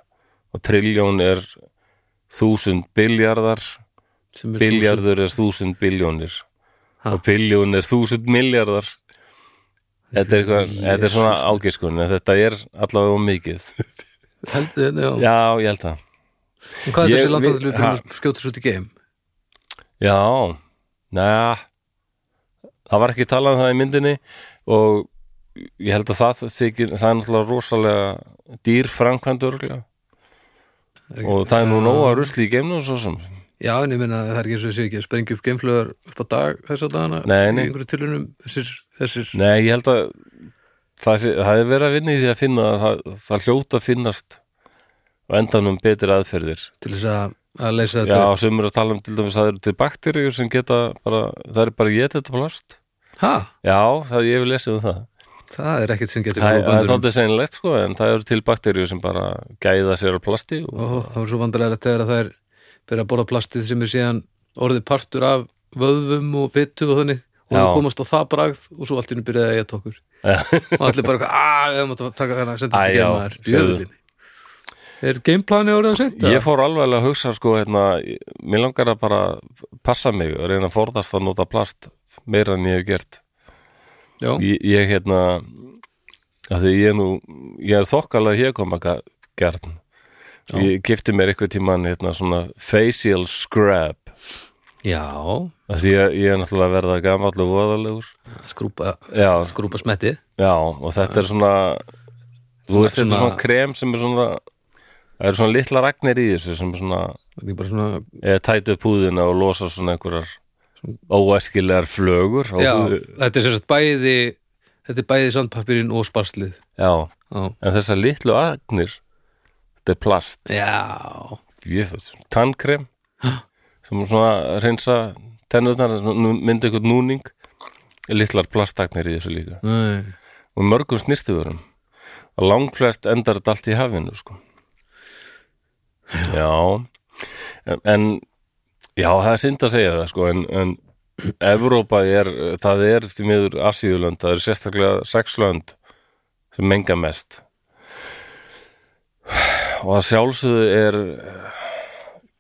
og triljón er þúsund biljarðar Sem er biljarður er þúsund biljónir Ha. og biljón er þúsund miljardar þetta er, eitthvað, þetta er svona ágiskun en þetta er allavega of mikið þúsund- Held, já. Já, ég held það En hvað er Ég- þessi langt að við- hlutum að skjóta svo til game? Já, næja það var ekki talað um það í myndinni og ég held að það þykir, það er náttúrulega rosalega dýr framkvæmdur ekki- og það er nú nóg að rusli í geimnum svo sem Já, en ég minna að það er ekki eins og ég sé ekki að sprengja upp geimflöðar upp á dag þess að dagana Nei, nei. í einhverju tilunum þessir, þessir Nei, ég held að það, sé, það er verið að vinna í því að finna að það, það hljóta að finnast og endanum betri aðferðir til þess að, að leysa Já, þetta upp. sem eru að tala um til dæmis að það eru til bakteríur sem geta bara, það er bara getið þetta plast Ha, Já, það ég vil lesið um það það er ekkert sem getur Það búið er- það er bandur þáttið sennilegt sko en það eru til bakterjur sem bara gæða sér á plasti og, og það er svo vandrarlegt þegar að það er byrja að borða plastið sem er síðan orðið partur af vöðvum og fitu og þannig og Já. það komast á það bragð og svo allt innu byrjaði að ég tókur og allir bara, eitthvað, að við mátt að taka hana senda Æ, þetta já, geimar, sjáðu. bjöðlin Er gameplani orðið að senda? Ég fór alveg að hugsa sko hérna, ég- mér langar að bara passa mig og reyna að forðast að nota plast meira en ég hef gert Já, Ég, ég hérna af því ég er nú, ég er þokkalega hér koma gern Já. Ég kipti mér eitthvað tíman hérna svona facial scrap já af því ég, ég er náttúrulega að verða gamall og voðalegur skrúpa, Já, skrúpa smetti Já, og þetta er svona þú Svona- veist, þetta er svona svona- krem sem er svona það eru svona litla ragnir í þessu sem er svona, Þetta er bara svona eða tætu upp húðina og losa svona einhverjar óæskilegar flögur á Já, húðu. þetta er sem sagt bæði þetta er bæði sandpappirinn og sparslið Já, Já, en þessar litlu agnir þetta er plast já. jöfus, tannkrem sem er svona að hreinsa tennurnar, svona mynda eitthvað núning litlar plastagnir í þessu líka Nei. og mörgum snýstuðurum og langflest endar þetta allt í hafinu sko. já en já, það er synd að segja það sko, en, en Evrópa er, það er því miður Asíulönd, það eru sérstaklega sexlönd sem menga mest og að sjálfsögðu er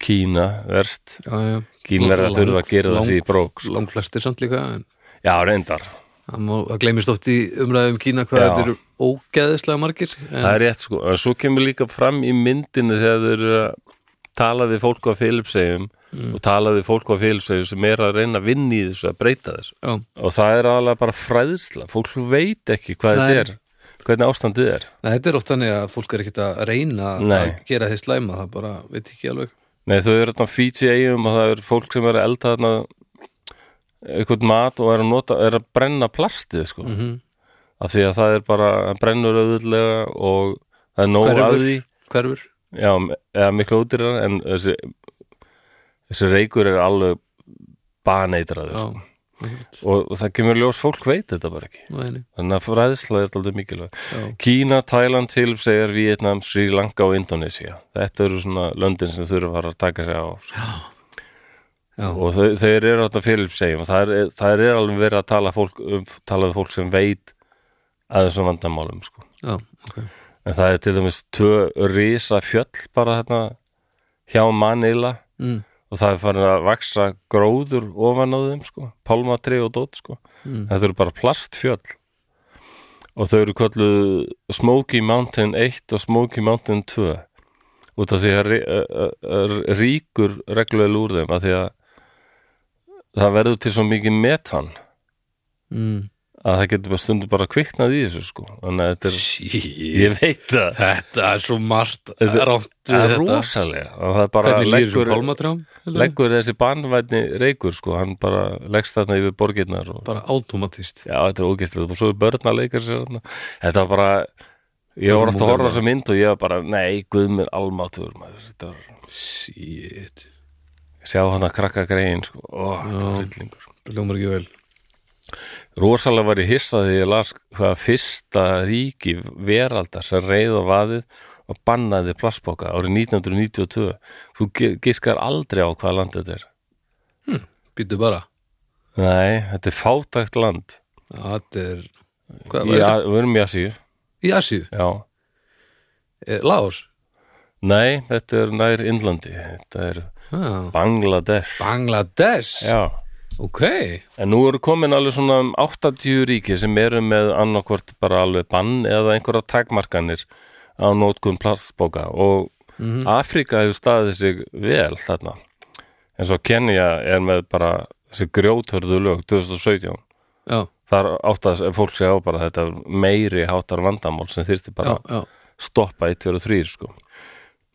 Kína verst já, já. Kínverjar þurfa að gera það sig í brók, sko. Langflestir samt líka en Já, reyndar, það má- það gleymist oft í umræðum Kína hvað Já. þetta eru ógeðislega margir en, það er rétt sko en svo kemur líka fram í myndinu þegar þau eru að tala við fólk á Filipsegjum og tala við fólk á Filipsegjum sem er að reyna að vinna í þessu að breyta þessu já, og það er aðalega bara fræðsla fólk veit ekki hvað Nei. þetta er hvernig ástandið er Nei, þetta er oft þannig að fólk er ekkert að reyna að Nei. gera þið slæma það bara veit ekki alveg Nei, þau eru þarna á Fiji eigum og það eru fólk sem er að elda þarna eitthvað mat og er að, nota, er að brenna plastið sko. Mhm. af því að það er bara það brennur auðvitlega og það er nóg að því hverfur, hverfur Já, eða miklu útýrar en þessi, þessi reykur er alveg baneitraður já, sko. og, og það kemur ljós fólk veit þetta bara ekki næ, nei, þannig að fræðsla er alltaf mikilvæg já, Kína, Tæland, Filipsegar, Vietnam, Sri Lanka og Indonesia. Þetta eru svona löndin sem þurfa að taka sig á. Já. Já. Og þau, þeir eru þetta Filipsegjum og það er, það er alveg verið að tala, fólk, um, tala við fólk sem veit að þessum vandamálum. Sko. já, ok En það er til dæmis tvö risa fjöll bara hérna hjá Manila mm, og það er farin að vaksa gróður ofan á þeim sko, pálmatri og dót sko. Mm. þetta eru bara plastfjöll og þau eru kolluð Smoky Mountain 1 og Smoky Mountain 2 út af því að rí- ö- ö- ö- ríkur regluvel úr þeim af því að það verður til svo mikið metan mm. að það getur bara stundum bara kviknað í þessu sko þannig að þetta er, Sí, ég veit það þetta er svo margt Þetta- rátt það við er þetta rosalega og það er bara hvernig lýður svo leggur- pálmatrjám Legg... leggur þessi banvætni reykur sko, hann bara leggst þarna yfir borgirnar og bara automatist já, þetta er ógæslega og svo er börn að leika sér þarna þetta var bara, ég var alltaf að horfa á þessa mynd og ég var bara, nei, guð mér almátur maður, þetta var, shit, sjá hann að krakka greiðin sko, ó, þetta var hryllingur það ljómar ekki vel rosalega var ég hissað því ég las hvaða fyrsta ríki veraldar sem reið á vaðið og bannaði plastboka árið 1992 þú gi- giskar aldrei á hvaða land þetta er býttu bara, nei, þetta er fátækt land þetta er hvað Í var þetta, A- við erum í Asíu í Asíu já. eh, Laos, nei, þetta er nær Indlandi þetta er ah. Bangladesh Bangladesh já. ok, en nú eru komin alveg svona um 80 ríki sem eru með annarkvort bara alveg bann eða einhverja takmarkanir á nótkun plastbóka og Mhm. Afrika hefur staðið sig vel þarna en svo Kenya er með bara þessi grjóthörðu lög 2017 já, þar áttast ef fólk segja á bara þetta er meiri hátar vandamál sem þyrfti bara já, já stoppa 1, 2 og 3 sko.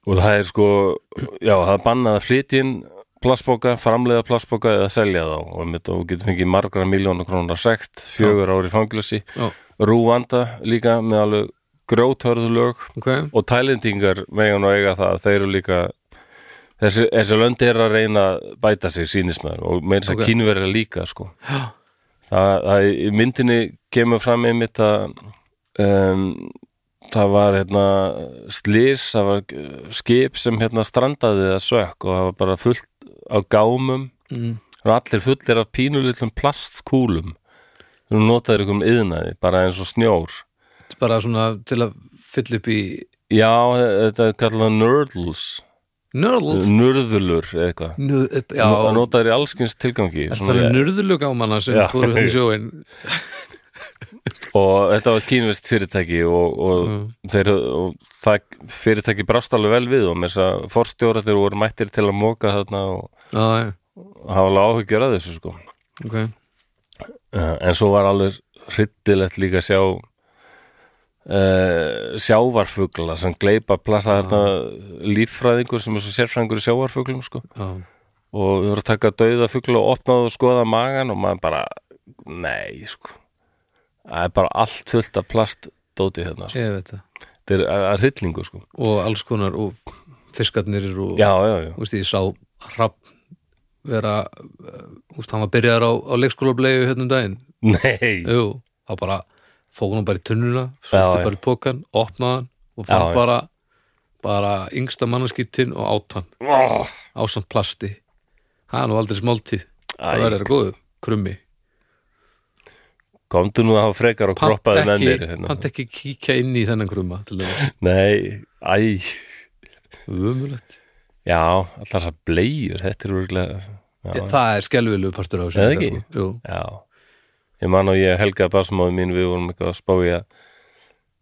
og það er sko já, það er bannað að flytja inn plastboka, framleiða plastboka eða selja þá og um þetta og getur fengið margra miljónu krónar sekt, fjögur ári fangilsi Já. Rúanda líka með alveg grjóthörðu lög ok, og tælendingar megan og eiga það þeir eru líka þessi, þessi löndi er að reyna að bæta sig sínismæður og meira þess að Ok. okay. kínverja líka sko já, það, það í myndinni kemur fram einmitt að um, það var hérna slís, það var uh, skip sem hérna strandaði að sökk og það var bara fullt á gámum mm. og allir fullir af pínulitlum plastkúlum sem notaður ykkur um yðnaði, bara eins og snjór Þetta er bara svona til að fylla upp í Já, þetta er kallað nördls nörðl Nörðulur eða eitthvað Nö, já, Það notaður í allskins tilgangi er það svona- nörðlug á manna sem Já. fóru hann í sjóin og þetta var kínvist fyrirtæki og, og, þeir, og það fyrirtæki brást alveg vel við og mér þess að forstjóra þeir voru mættir til að móka þarna og já, já, hafa alveg áhyggjur að þessu sko ok Eh, en svo var alveg hryddilegt líka að sjá uh, sjávarfugla sem gleipa plasta þarna líffræðingur sem er svo sérfræðingur í sjávarfuglum sko já, og þú voru að taka dauða fugla og opna það og skoða magan og maður bara, nei sko það er bara allt fullt af plast dótið hérna sko. ég veit það þetta er að- að hryllingu sko og alls konar og fiskarnir og já, já, já, veist, ég sá hrapp vera eh, úst, hann var byrjaðar á, á leikskólablegu hérna um daginn nei Jú, þá bara fóð hann bara í tunnuna svolítið já. bara í pokan, opnaði hann og fann Já, já. bara bara yngsta mannaskittin og át hann oh, ásamt plasti hann var aldrei smáltíð það Æ. verður góðu krummi komdu nú að hafa frekar og pant kroppaði með ekki, mér hérna. pant ekki kíkja inn í þennan krumma til þess nei, æ umulegt já, allar þessar bleiur þetta er úrlega já, það er skelvilegu partur á þessu Eða ekki? sko. Jú. já. ég man og ég helgaði basmáði mín við vorum eitthvað að spá í að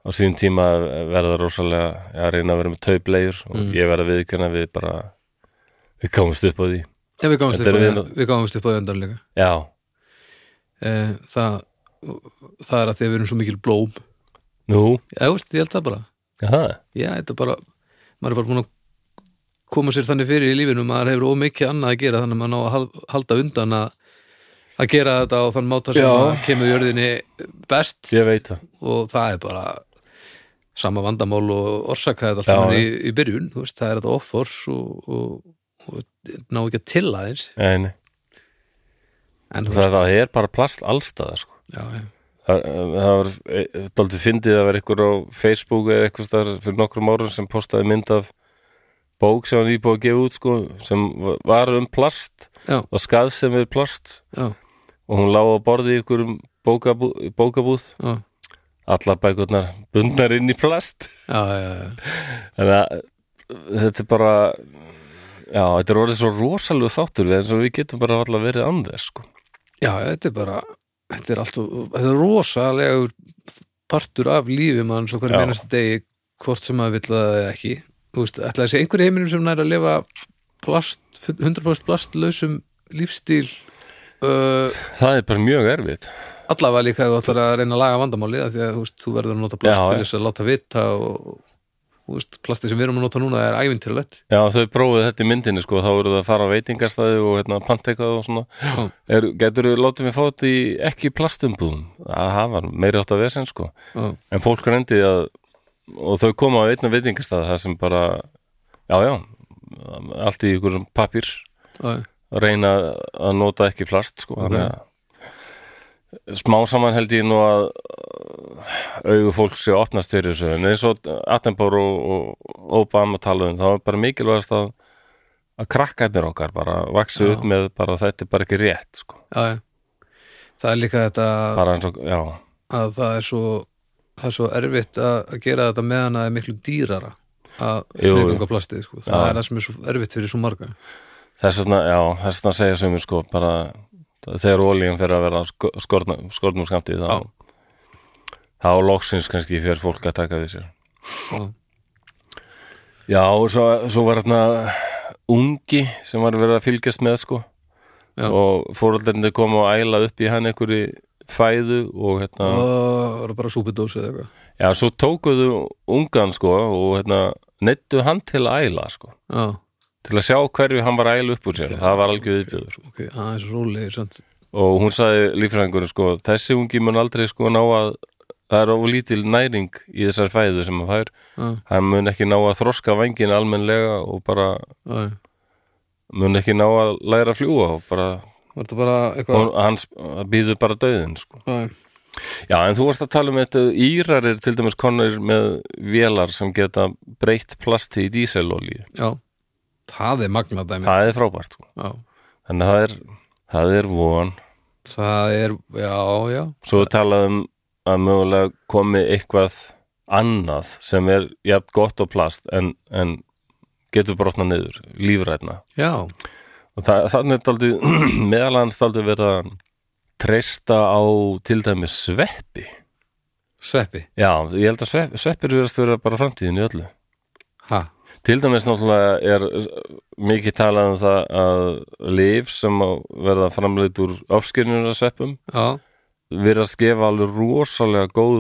á síðum tíma að verða rosalega að reyna að vera með taubleir og ég verða viðkjöna við bara við komumst upp á því Já, við komumst Þetta upp á er því- við- við komumst upp á því endan líka já, Eh, það, það er að því að við erum svo mikil blóm nú, Já, veist, ég held það bara aha, Já, þetta er bara, maður er bara búin að koma sér þannig fyrir í lífinu maður hefur ómikið annað að gera þannig að maður ná að hal- halda undan að að gera þetta á þann máta sem Já. að kemur jörðinni best ég veit það og það er bara sama vandamál og orsaka þetta allt Já, saman já. í, í byrjun, þú veist, það er þetta offors og, og, og ná ekki að til aðeins en, en þú það, veist, það er bara plast allstaðar sko já, já, Það, það var daldið fyndið að vera ykkur á Facebook eða eitthvað þar fyrir nokkrum árum sem postaði mynd af bók sem hann íbúið að gefa út sko, sem var um plast Já. og skað sem er plast já, og hún lág á borði í ykkur um bókabú, bókabúð já, allar bækurnar bundnar inn í plast já, já, já. þannig að þetta er bara já, þetta er orðið svo rosalegu þáttur við eins og við getum bara allar verið andes sko. já, þetta er bara þetta er allt, og- þetta er rosalegur partur af lífi mann svo hverju Já. mennast degi hvort sem maður vill það eða ekki þú veist, ætlaði þessi einhverju heiminum sem nær að lifa plast, 100% plastlausum lífstíl uh, það er bara mjög erfitt allavega líka ef þú ætlar að reyna að laga vandamálið af því að þú, veist, þú verður að nota plast Já, til já. þess að láta vita og þú veist, plastið sem við erum að nota núna er ævintilvægt Já, þau prófið þetta í myndinni sko, þá eru það að fara á veitingastæði og hérna, panta eitthvað og svona. Já. Er, getur þau látið mig fá þetta í ekki plastumbúðum? Að það var meiri átt að vesen sko. Já. En fólk reyndi að, og þau koma á einna veitingastæði það sem bara, já já, allt í ykkur pappir Já, að reyna að nota ekki plast sko. Ok. Þannig að smá saman held ég nú að uh, augu fólk sé opnast fyrir þessu en eins og Attenborough og Obama tala um, þá er bara mikilvægast að að krakkarnir okkar bara vaksu Já. upp með bara þetta er bara ekki rétt sko. já, já. það er líka þetta bara eins og, já, að það er svo það er svo erfitt að, að gera þetta meðan að það er miklu dýrara að Jú, jú. sniðganga plastið sko. það Já. er það sem er svo erfitt fyrir svo marga þess vegna já, þess vegna segja sömur sko bara þegar olíum fyrir að vera sko- skorna, skornum skamtið þá, þá loksins kannski fyrir fólk að taka við sér Já. já, og svo, svo var þarna ungi sem var verið að fylgjast með sko Já. og fóröldarnir kom og æla upp í hann einhverju fæðu og hérna og það er bara súpidósi eða eitthvað Já, svo tókuðu ungan sko og hérna, neittu hann til að æla sko, já, til að sjá hverju hann var að æla upp úr sér, það var algjör viðbjöður ok, það er svo rólegir samt. og hún sagði líffræðingur sko, þessi ungi mun aldrei sko ná að það er of lítil næring í þessar fæðu sem hann fær, já, hann mun ekki ná að þroska vangin almennlega og bara já, já. mun ekki ná að læra að fljúa og bara, var þetta bara eitthvað og hann býður bara döðin sko. já, já. Já, en þú varst að tala um þetta Írar er til dæmis konur með vélar sem geta breytt plasti í díselolíu. Já, það er magnað dæmi Það er frábært, sko. Já, Þannig að það er, það er von. það er, já, já Svo er talað um að mögulega komi eitthvað annað sem er jafn gott og plast en, en getur brotna niður, lífrætna. Já, Og það, þannig er daldi, meðal hans daldi verið að treysta á til dæmis sveppi. sveppi, Já, ég held að svepp, sveppir verðast vera bara framtíðin í öllu. ha, Til dæmis náttúrulega er uh, mikið talað um það að lif sem á- verða framleitt úr afskynjur að sveppum já, verða að skefa alveg rosalega góð,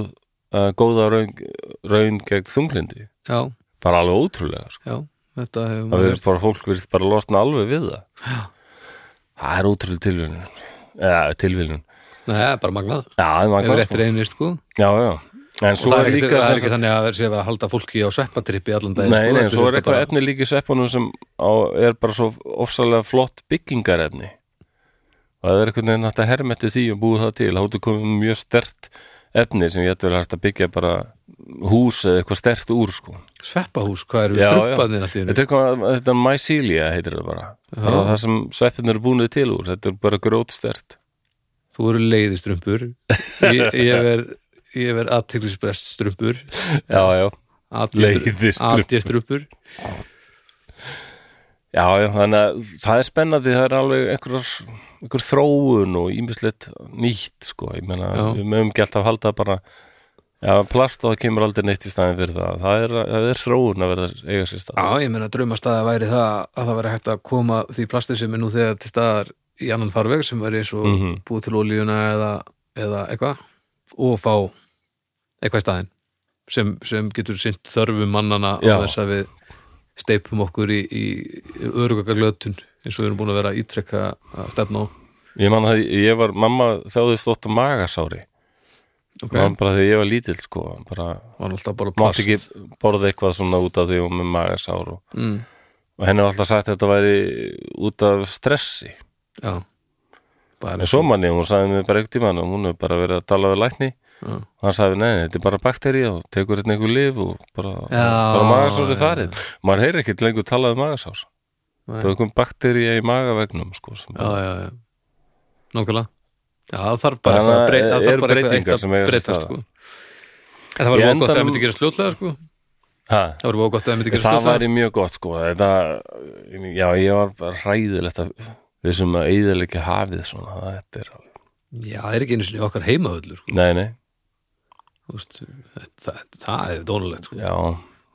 uh, góða raun, raun gegn þunglindi. já, Bara alveg ótrúlega. Sko. já Þetta hefur Það verður heyrt. bara fólk verðist bara losna alveg við það. Það er ótrúlega tilviljun. Eða tilviljun. Nei, það er bara magnað Já, það er Hefur magnað, rétt reynir, sko sko. Já, já. En Og svo það er er ekki, líka... það er ekki þannig að það sé að vera að halda fólki á sveppatrippi allan daginn Nei, sko, nei, heldur svo þetta er eitthvað bara- efni líka í sveppunum sem á, er bara svo ofsalega flott byggingarefni og það er einhvern veginn hægt að herma eftir því og búið það til, háttu komið mjög stert efni sem ég ætti vel hægt að byggja bara hús eða eitthvað stert úr sko. Sveppahús, hvað eru Já, struppaðnir allt í þetta hennu? er eitthvað, þetta er mycelia heitir það bara, bara það sem sveppin eru búinuð til úr, þetta er bara grót stert þú eru leiðistrumpur ég, ég verð ég verð aðtiklisbrest strumpur já, já, Leiðistrumpur. aðtjöstrumpur já, já þannig að það er spennandi það er alveg einhver, einhver þróun og ímislegt nýtt sko, ég meina, Já. við mögum gælt að halda bara já, plast og það kemur aldrei neitt í staðin fyrir það, það er, það er þróun að verða eiga sér stað Já, ég meina draumastæða væri það að það væri hægt að koma því plasti sem er nú þegar til staðar í annan farveg sem væri svo Mhm. búið til olíuna eða, eða eitthvað og fá eitthvað í staðinn sem, sem getur sinnt þörfum mannana Já. á þess að við steipum okkur í, í örugaglötun eins og við erum búin að vera að ítrekka að stefna á ég man að ég var, mamma þjáðist ótt á magasári ok, okay. bara þegar ég var lítill sko bara, var alltaf bara plast mátt ekki borða eitthvað svona út af því og með magasár og, mm, og henni var alltaf sagt að þetta væri út af stressi Já bara en svo manni, hún sagði mér bara eitthvað tímann og hún hefur bara verið að tala við lækni Já. og hann sagði, nei, nei, þetta er bara bakterja og tekur hérna einhver lif og bara, Já, bara magasár já, er farið maður heyri ekkert lengur talað um magasár Nei. það er einhver bakterja í magavegnum sko, sem já, já, já. Nókulega Já, það þarf bara Þannig eitthvað að breyta Það að eru þarf bara eitthvað breytingar eitt sem eiga að sér breyta stað. sko. En það var Í vóð gott að það endanum- myndi gerast fljótlega sko. ha, Það var vóð gott að það myndi gerast það fljótlega væri mjög gott sko þetta, já, ég var bara hræðilegt að við sem að eyðilegja hafið svona, þetta er alveg Já, það er ekki einu sinni okkar heimavöldur sko. nei, nei, Þú veist, það, það, það er dónulegt sko. já,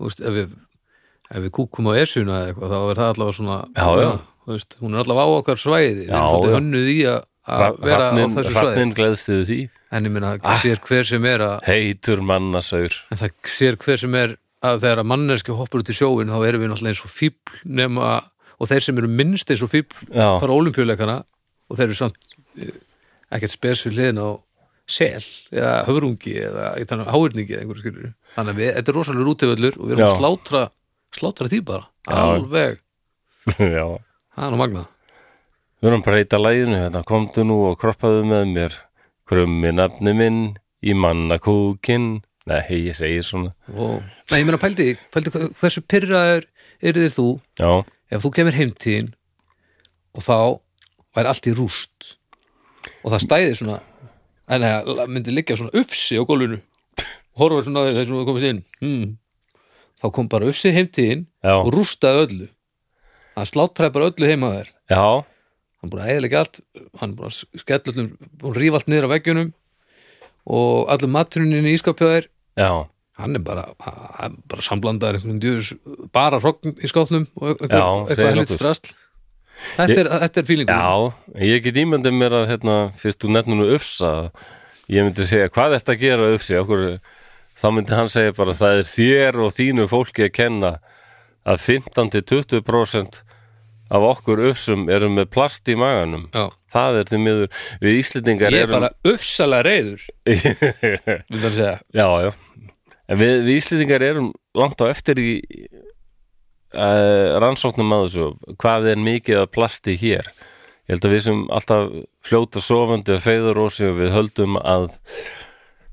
Þú veist, ef við, ef við kúkum á esuna eða eitthvað þá er það allavega svona Já, já. Þú veist, Hún er allavega á okkar svæði Við Já, erum svolítið já. hönnuð í að- að vera á hrattnin þessu svæði hrattnin gleðst yfir því En ég meina, Ah. sér hver sem er að heitur mannasaur En það sér hver sem er að þegar að manneski hoppar út í sjóin þá erum við náttúrulega eins og fíbl nema, og þeir sem eru minnst eins og fíbl já, fara ólimpíuleikana og þeir eru samt eh, ekkert spes við liðin á sel eða höfrungi eða eitt annað, háirningi eða einhverju skilur þannig að við, þetta er rosalega rútiföllur og við erum Já. að slátra slátra því bara, Já. alveg já það er nú magnað við erum að breyta læginu hérna, komdu nú og kroppaðu með mér krummi nafni minn í mannakúkin nei, ég segi svona og, nei, ég meina pældi, pældi hva- hversu pyrraður er þið þú já, ef þú kemur heimtíðin og þá væri allt í rúst og það stæði svona en það myndi liggja svona ufsi á gólfinu horfa svona á því þessum við komist inn hmm. þá kom bara ufsi heimtíðin já, og rústaði öllu hann sláttræði bara öllu heima þær já hann búið að eðilega allt hann búið að skella öllum, hún rífa allt niður á veggjunum og allum maturinninni í ískapjóðir já, hann er bara, hann er bara samblandaður einhvern djúðus bara hrogn í skáttnum og einhver, Já, eitthvað segir helvits nokkuð. drasl þetta er, þetta er fílingur já ég get ímyndið mér að hérna, fyrst þú nefnir nú ufsa ég myndi segja, hvað er þetta að gera ufsi okkur, þá myndi hann segja bara það er þér og þínu fólki að kenna að 15-20% af okkur ufsum eru með plast í maganum já. Það er því miður, við Íslendingar ég er erum bara ufsalega reyður vil það segja Já, já En við, við Íslendingar erum langt á eftir í uh, rannsóknum að þessu hvað er mikið að plasti hér Ég held að við sem alltaf fljóta sofandi að feiðurósi og við höldum að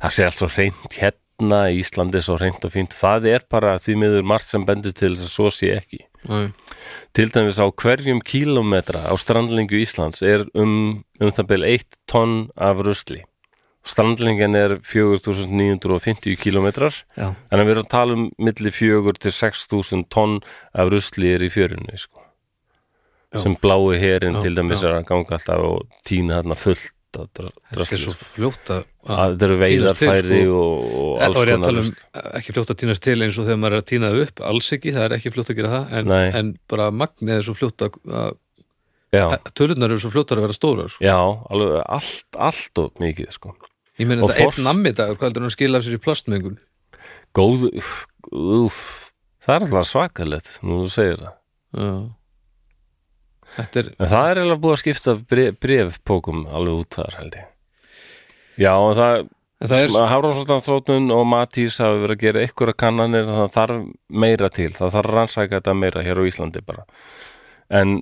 það sé allt svo reynt hérna í Íslandi er svo reynt og fínt það er bara því miður margt sem bendur til þess að svo sé ekki Nei. Til dæmis á hverjum kílómetra á strandlingu Íslands er um, um það byrja 1 tonn af rusli. Strandlingin er 4.950 kílómetrar, já, þannig að við erum að tala um milli 4 til 6.000 tonn af rusli er í fjörunni, sko. Já. Sem blái herin Já, til dæmis já. er að ganga alltaf og tína þarna fullt af dra- þetta drasli. er svo sko. fljótt að Að Þetta eru Tínast til, veiðarfæri sko. og, og og ég alls að konar tala um rusl. ekki fljótt að týnast til eins og þegar maður er að týna það upp alls ekki, það er ekki fljótt að gera það en, Nei. en bara magnið er svo fljótt að, að Já, tölunar eru svo fljóttar að vera stórar sko. já, alveg allt, allt of mikið, sko. ég meina Og þetta þorsk- einn nammi dag hvað heldur hann að skila af sér í plastmengun góð úf, það er alltaf svakalett nú þú segir það já. þetta er en það er eiginlega búið að skipta brefpókum alveg út þar held ég já og það, En það er, það Hafrannsóknarstofnun og Matís hafa verið að gera ykkur að kannanir það þarf meira til það þarf að rannsaka þetta meira hér á Íslandi bara en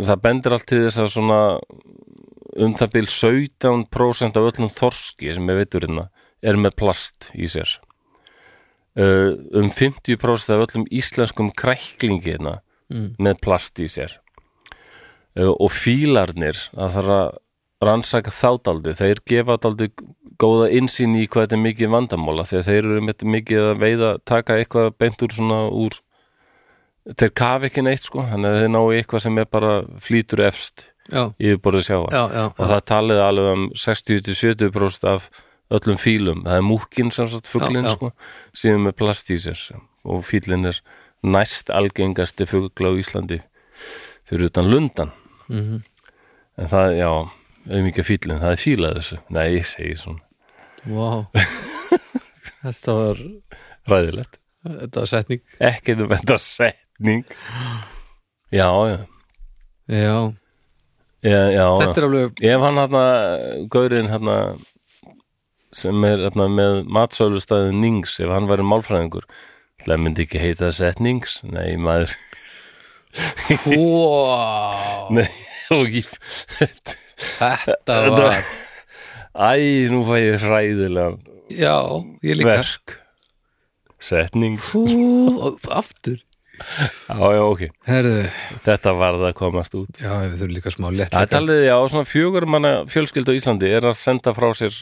það bendir allt til þess að svona um það bil 17% af öllum þorski sem við veitur hérna er með plast í sér uh, um 50% af öllum íslenskum kræklingi hérna Mm. með plast í sér uh, og fílarnir að Eh, það er að rannsaka þá daldi þeir gefa daldi góða insýn í hvað þetta er mikið vandamála því að þeir eru með mikið að veiða taka eitthvað beint úr svona úr þeir kafa ekki neitt sko þannig að þeir ná í eitthvað sem er bara flýtur efst já, yfirborðið sjávar já, já, og það talið alveg um 60-70% af öllum fílum það er múkin sem sagt fuglin Já, já. sko síðan með plast í sér og fílin er næst algengasti fugl á Íslandi fyrir utan lundan Mhm. en það, já, auðmíkja fílin það er fílað þessu, nei, ég segi svona Vá Þetta var, ræðilegt, þetta var setning ekki þú þetta setning já, já, Já, já, já já. þetta er alveg Ef hann hérna, gaurinn hérna sem er hérna með matsölustæðið Nings, ef hann væri málfræðingur það myndi ekki heita það sett Nings nei, maður Vá, nei, og ég þetta var æ, nú fæ ég hræðilega Já, ég líka verk sett Nings Hú, aftur já, já, ok, Herðu, þetta varð að komast út já, við þurfum líka smá lett það er talið, já, svona fjögur manna fjölskyldu á Íslandi er að senda frá sér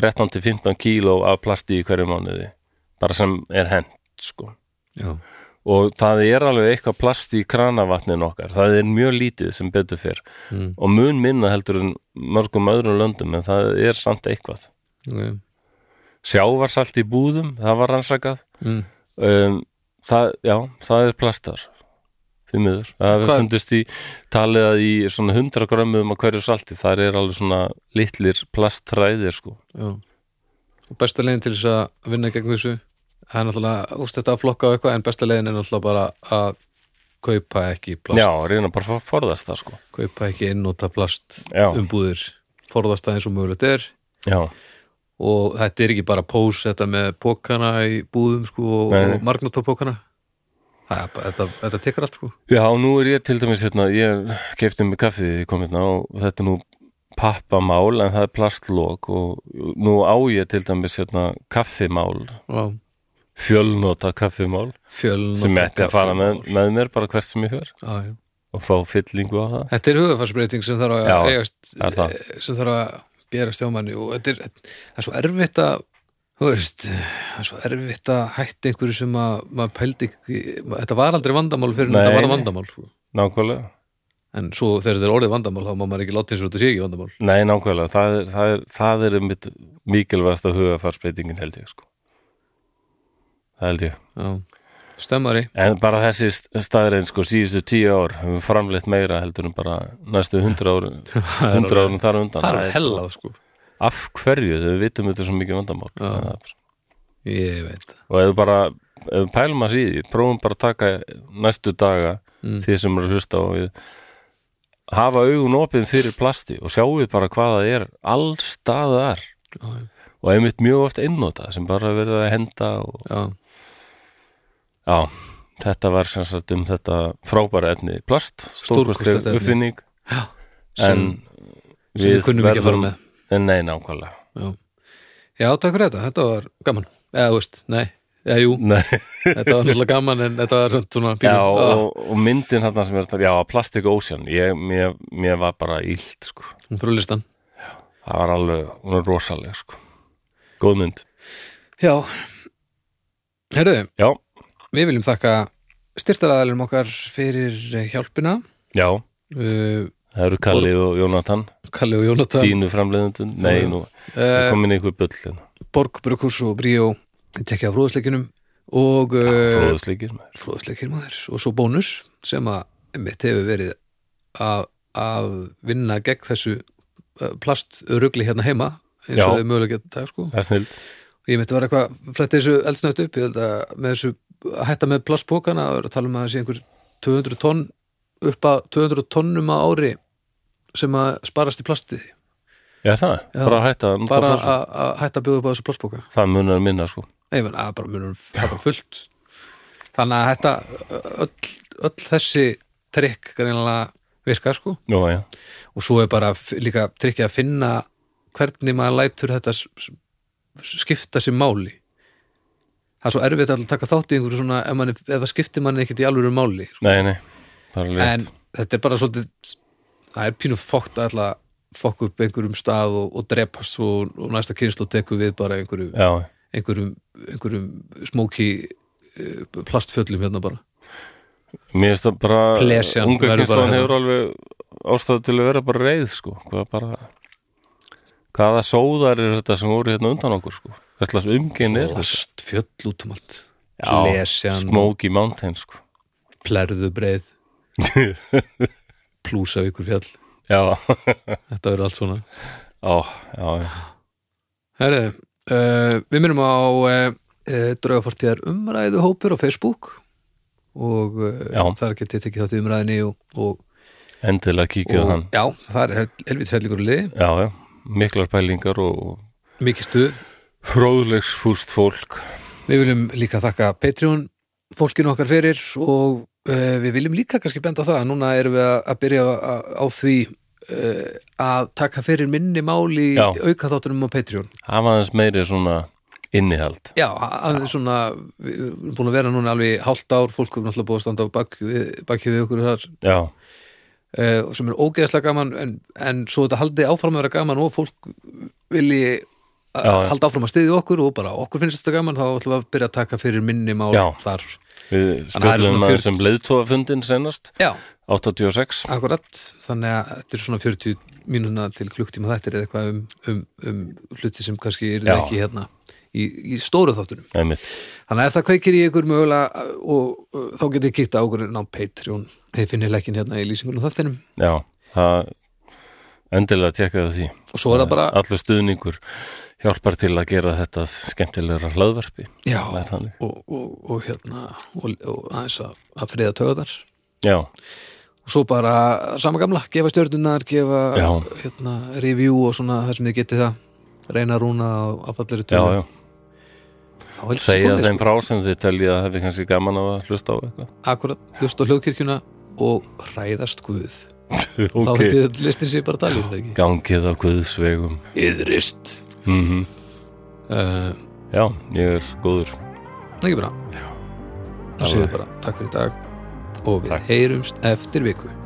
13-15 kíló af plasti í hverju mánuði bara sem er hent, sko Já, og það er alveg eitthvað plast í kranavatnin okkar, það er mjög lítið sem betur fyrr Mm. og mun minna heldur en mörgum öðrum löndum en það er samt eitthvað ok sjávarsalt í búðum, það var rannsakað Mm. um, það, já, það er plastar því miður, það Hvað- hefur fundist í talið að í svona 100 grömmum að hverju salti, það er alveg svona litlir plastræðir sko Já. Og besta leiðin til þess að vinna gegn þessu það er náttúrulega úst þetta að flokka á eitthvað en besta leiðin er náttúrulega bara að kaupa ekki plast já, reyna bara að forðast það sko kaupa ekki innóta plast já, umbúðir forðast það eins og mögulegt er já, og þetta er ekki bara pós þetta með pókana í búðum sko og, Nei, nei. og margnóttapókana þetta, þetta tekur allt sko Já, nú er ég til dæmis hérna, ég kefti mig kaffi þegar ég kom hérna og þetta er nú pappamál en það er plastlok og nú á ég til dæmis hérna kaffimál, Já. fjölnota kaffimál fjölnóta sem ég ætti að fara með, með mér bara hvert sem ég fer já, já. og fá fyllingu á það. Þetta er hugafarsbreyting sem þarf að Já, eigast, það er það. sem þarf að bera stjámanni og þetta er, það er svo erfitt að þú veist, það er svo erfitt að hætta einhverju sem að maður pældi ekki, þetta var aldrei vandamál fyrir en Nei, þetta var nei. vandamál sko. Nákvæmlega? en svo þegar þetta er orðið vandamál þá má maður ekki láta eins og þetta sé ekki vandamál Nei, nákvæmlega, það er, það er, það er mitt mikilvægasta hugafarsbreytingin held ég sko. Það held ég. Já. stemmari, En bara þessi staðrein sko síðustu tíu ár hefur framleitt meira heldur en bara næstu hundra árum hundra árum þar á undan það er hellað sko Af hverju þau vitum þetta er svo mikið vandamál Já. Það er bara- ég veit það. og ef við bara ef við pælum að síði, prófum bara að taka næstu daga Mm. því sem eru að hlusta og við hafa augun opið fyrir plasti og sjáum við bara hvað það er alls staðar Já, já. og einmitt mjög oft innóta sem bara verið að henda og Já. Já, þetta var sem sagt um þetta frábæra efni plast, Stórkostlegt stórkostleg efni. uppfinning Já. en sem, sem við kunnum ekki að fara með en Nei, nákvæmlega Já, já takk fyrir þetta, þetta var gaman eða þú veist, nei, eða jú Nei, þetta var náttúrulega gaman en þetta var samt svona pínu já, Ah, og, og myndin þarna sem er já, Plastic Ocean, ég, mér, mér var bara illt, sko, hún fyrir listan það var alveg hún er rosaleg, sko, góð mynd já, herru, Já, við viljum þakka styrtaraðalum okkar fyrir hjálpina já, uh, það eru Kalli og Jónatan Kalli og Jónatan þínu framleiðundun, nei, nú uh, komin einhver bull hérna, Borg, Brukus og Bríó tekja á fróðsleikinum og uh, fróðusleikir maður. fróðsleikir maður og svo bónus sem að mitt hefur verið að, að vinna gegn þessu eh, plastrugli hérna heima eins og Já. þau mögulega geta sko. það er snild ég myndi vera eitthvað, fletti þessu eldsnögt upp ég held að með þessu, að hætta með plastpókana og er að tala um að það sé einhver 200 tonn upp að 200 tonnum á ári sem að sparast í plasti Já, er það, Já. bara að hætta að nota bara plast. að að hætta að bjóða upp á þessu plastpóka það munar minna, sko Nei, menn, að bara munum það er bara fullt þannig að þetta öll, öll þessi trikk greinlega virka sko Nú, já, og svo er bara f- líka trikkið að finna hvernig maður lætur þetta s- s- skipta sér máli það er svo erfitt að taka þátt í einhverju svona ef, mann, ef það skiptir manni ekkert í alvöru máli sko. nei, nei, það er alveg rétt. en þetta er bara svolítið það er pínu fókt að ætla að fokk upp einhverjum stað og, og drepast og, og næsta kynslu tekur við bara einhverju, já, einhverjum, einhverjum smóki eh, plastfjöllum hérna bara mér finnst það bara Plesjan unga verður bara kynslan hérna. hefur alveg ástæðu til að vera bara reið sko hvað bara hvaða sóðar er þetta sem voru hérna undan okkur sko hvað slags umginn er þetta plastfjöll út um allt Já, Plesjan, Smoky Mountain sko plerðubreið plúsavíkur fjall já, þetta verður allt svona já, já, já. Herri, uh, við minnum á uh, draugafortíðar umræðu hópur á Facebook og Já. uh, þar getið tekið þátt í umræðinni og, og, endilega kíkja á og hann já, þar er hel- helvítið hellingur liði, já, já, miklar pælingar og mikið stuð hróðlegsfúst fólk við viljum líka þakka Patreon fólkinu okkar fyrir og uh, við viljum líka kannski benda á það að núna erum við að, að byrja á, á því uh, að taka fyrir minni máli Já. auka þáttunum á Patreon hafa aðeins meiri svona innihald Já, aðeins svona við við erum búin að vera núna alveg hálft ár fólk er náttúrulega búið að standa á bak, við- baki við okkur þar já, eh, sem er ógeðslega gaman en, en svo þetta haldi áfram að vera gaman og fólk vilji að Já, já. halda áfram að styðja okkur og bara okkur finnst þetta gaman þá ætlum við að byrja að taka fyrir minni mál Já. þar Þannig að við það er spjöldum svona aðeins um 40. sem leiðtóafundin senast Já, 86 akkurat, þannig að þetta er svona 40 mínúna til klukktíma þetta er eitthvað um, um, um hluti sem kannski er Já. ekki hérna í, í stóru þáttunum einmitt, Þannig að ef það kveikir í ykkur mögulega uh, og, og þá getið kíkt á okkur ná Patreon, þið finnir lekkin hérna í lýsingunum þáttinum já það endilega tekkaðu því og svo er það bara, allur stuðningur hjálpar til að gera þetta skemmtilegra hlaðvarpi já, það er þannig. og, og, og hérna og, og aðeins að, að friða töðar já, og svo bara sama gamla, gefa stjörnunar gefa Já. hérna, review og svona þar sem þið getið það reyna að rúna á affallari já, töðar já segja þeim frá sem þið teljið að hefði kannski gaman á að hlusta á eitthvað akkurat, hlust á hljóðkirkjuna og hræðast guð þá ok, held ég að listin sé bara dalið ekki? gangið á guðsvegum Yðrist mm uh, já, ég er góður Það er ekki bara. Það séu Alveg. bara. Takk fyrir í dag og við Takk. heyrumst eftir viku.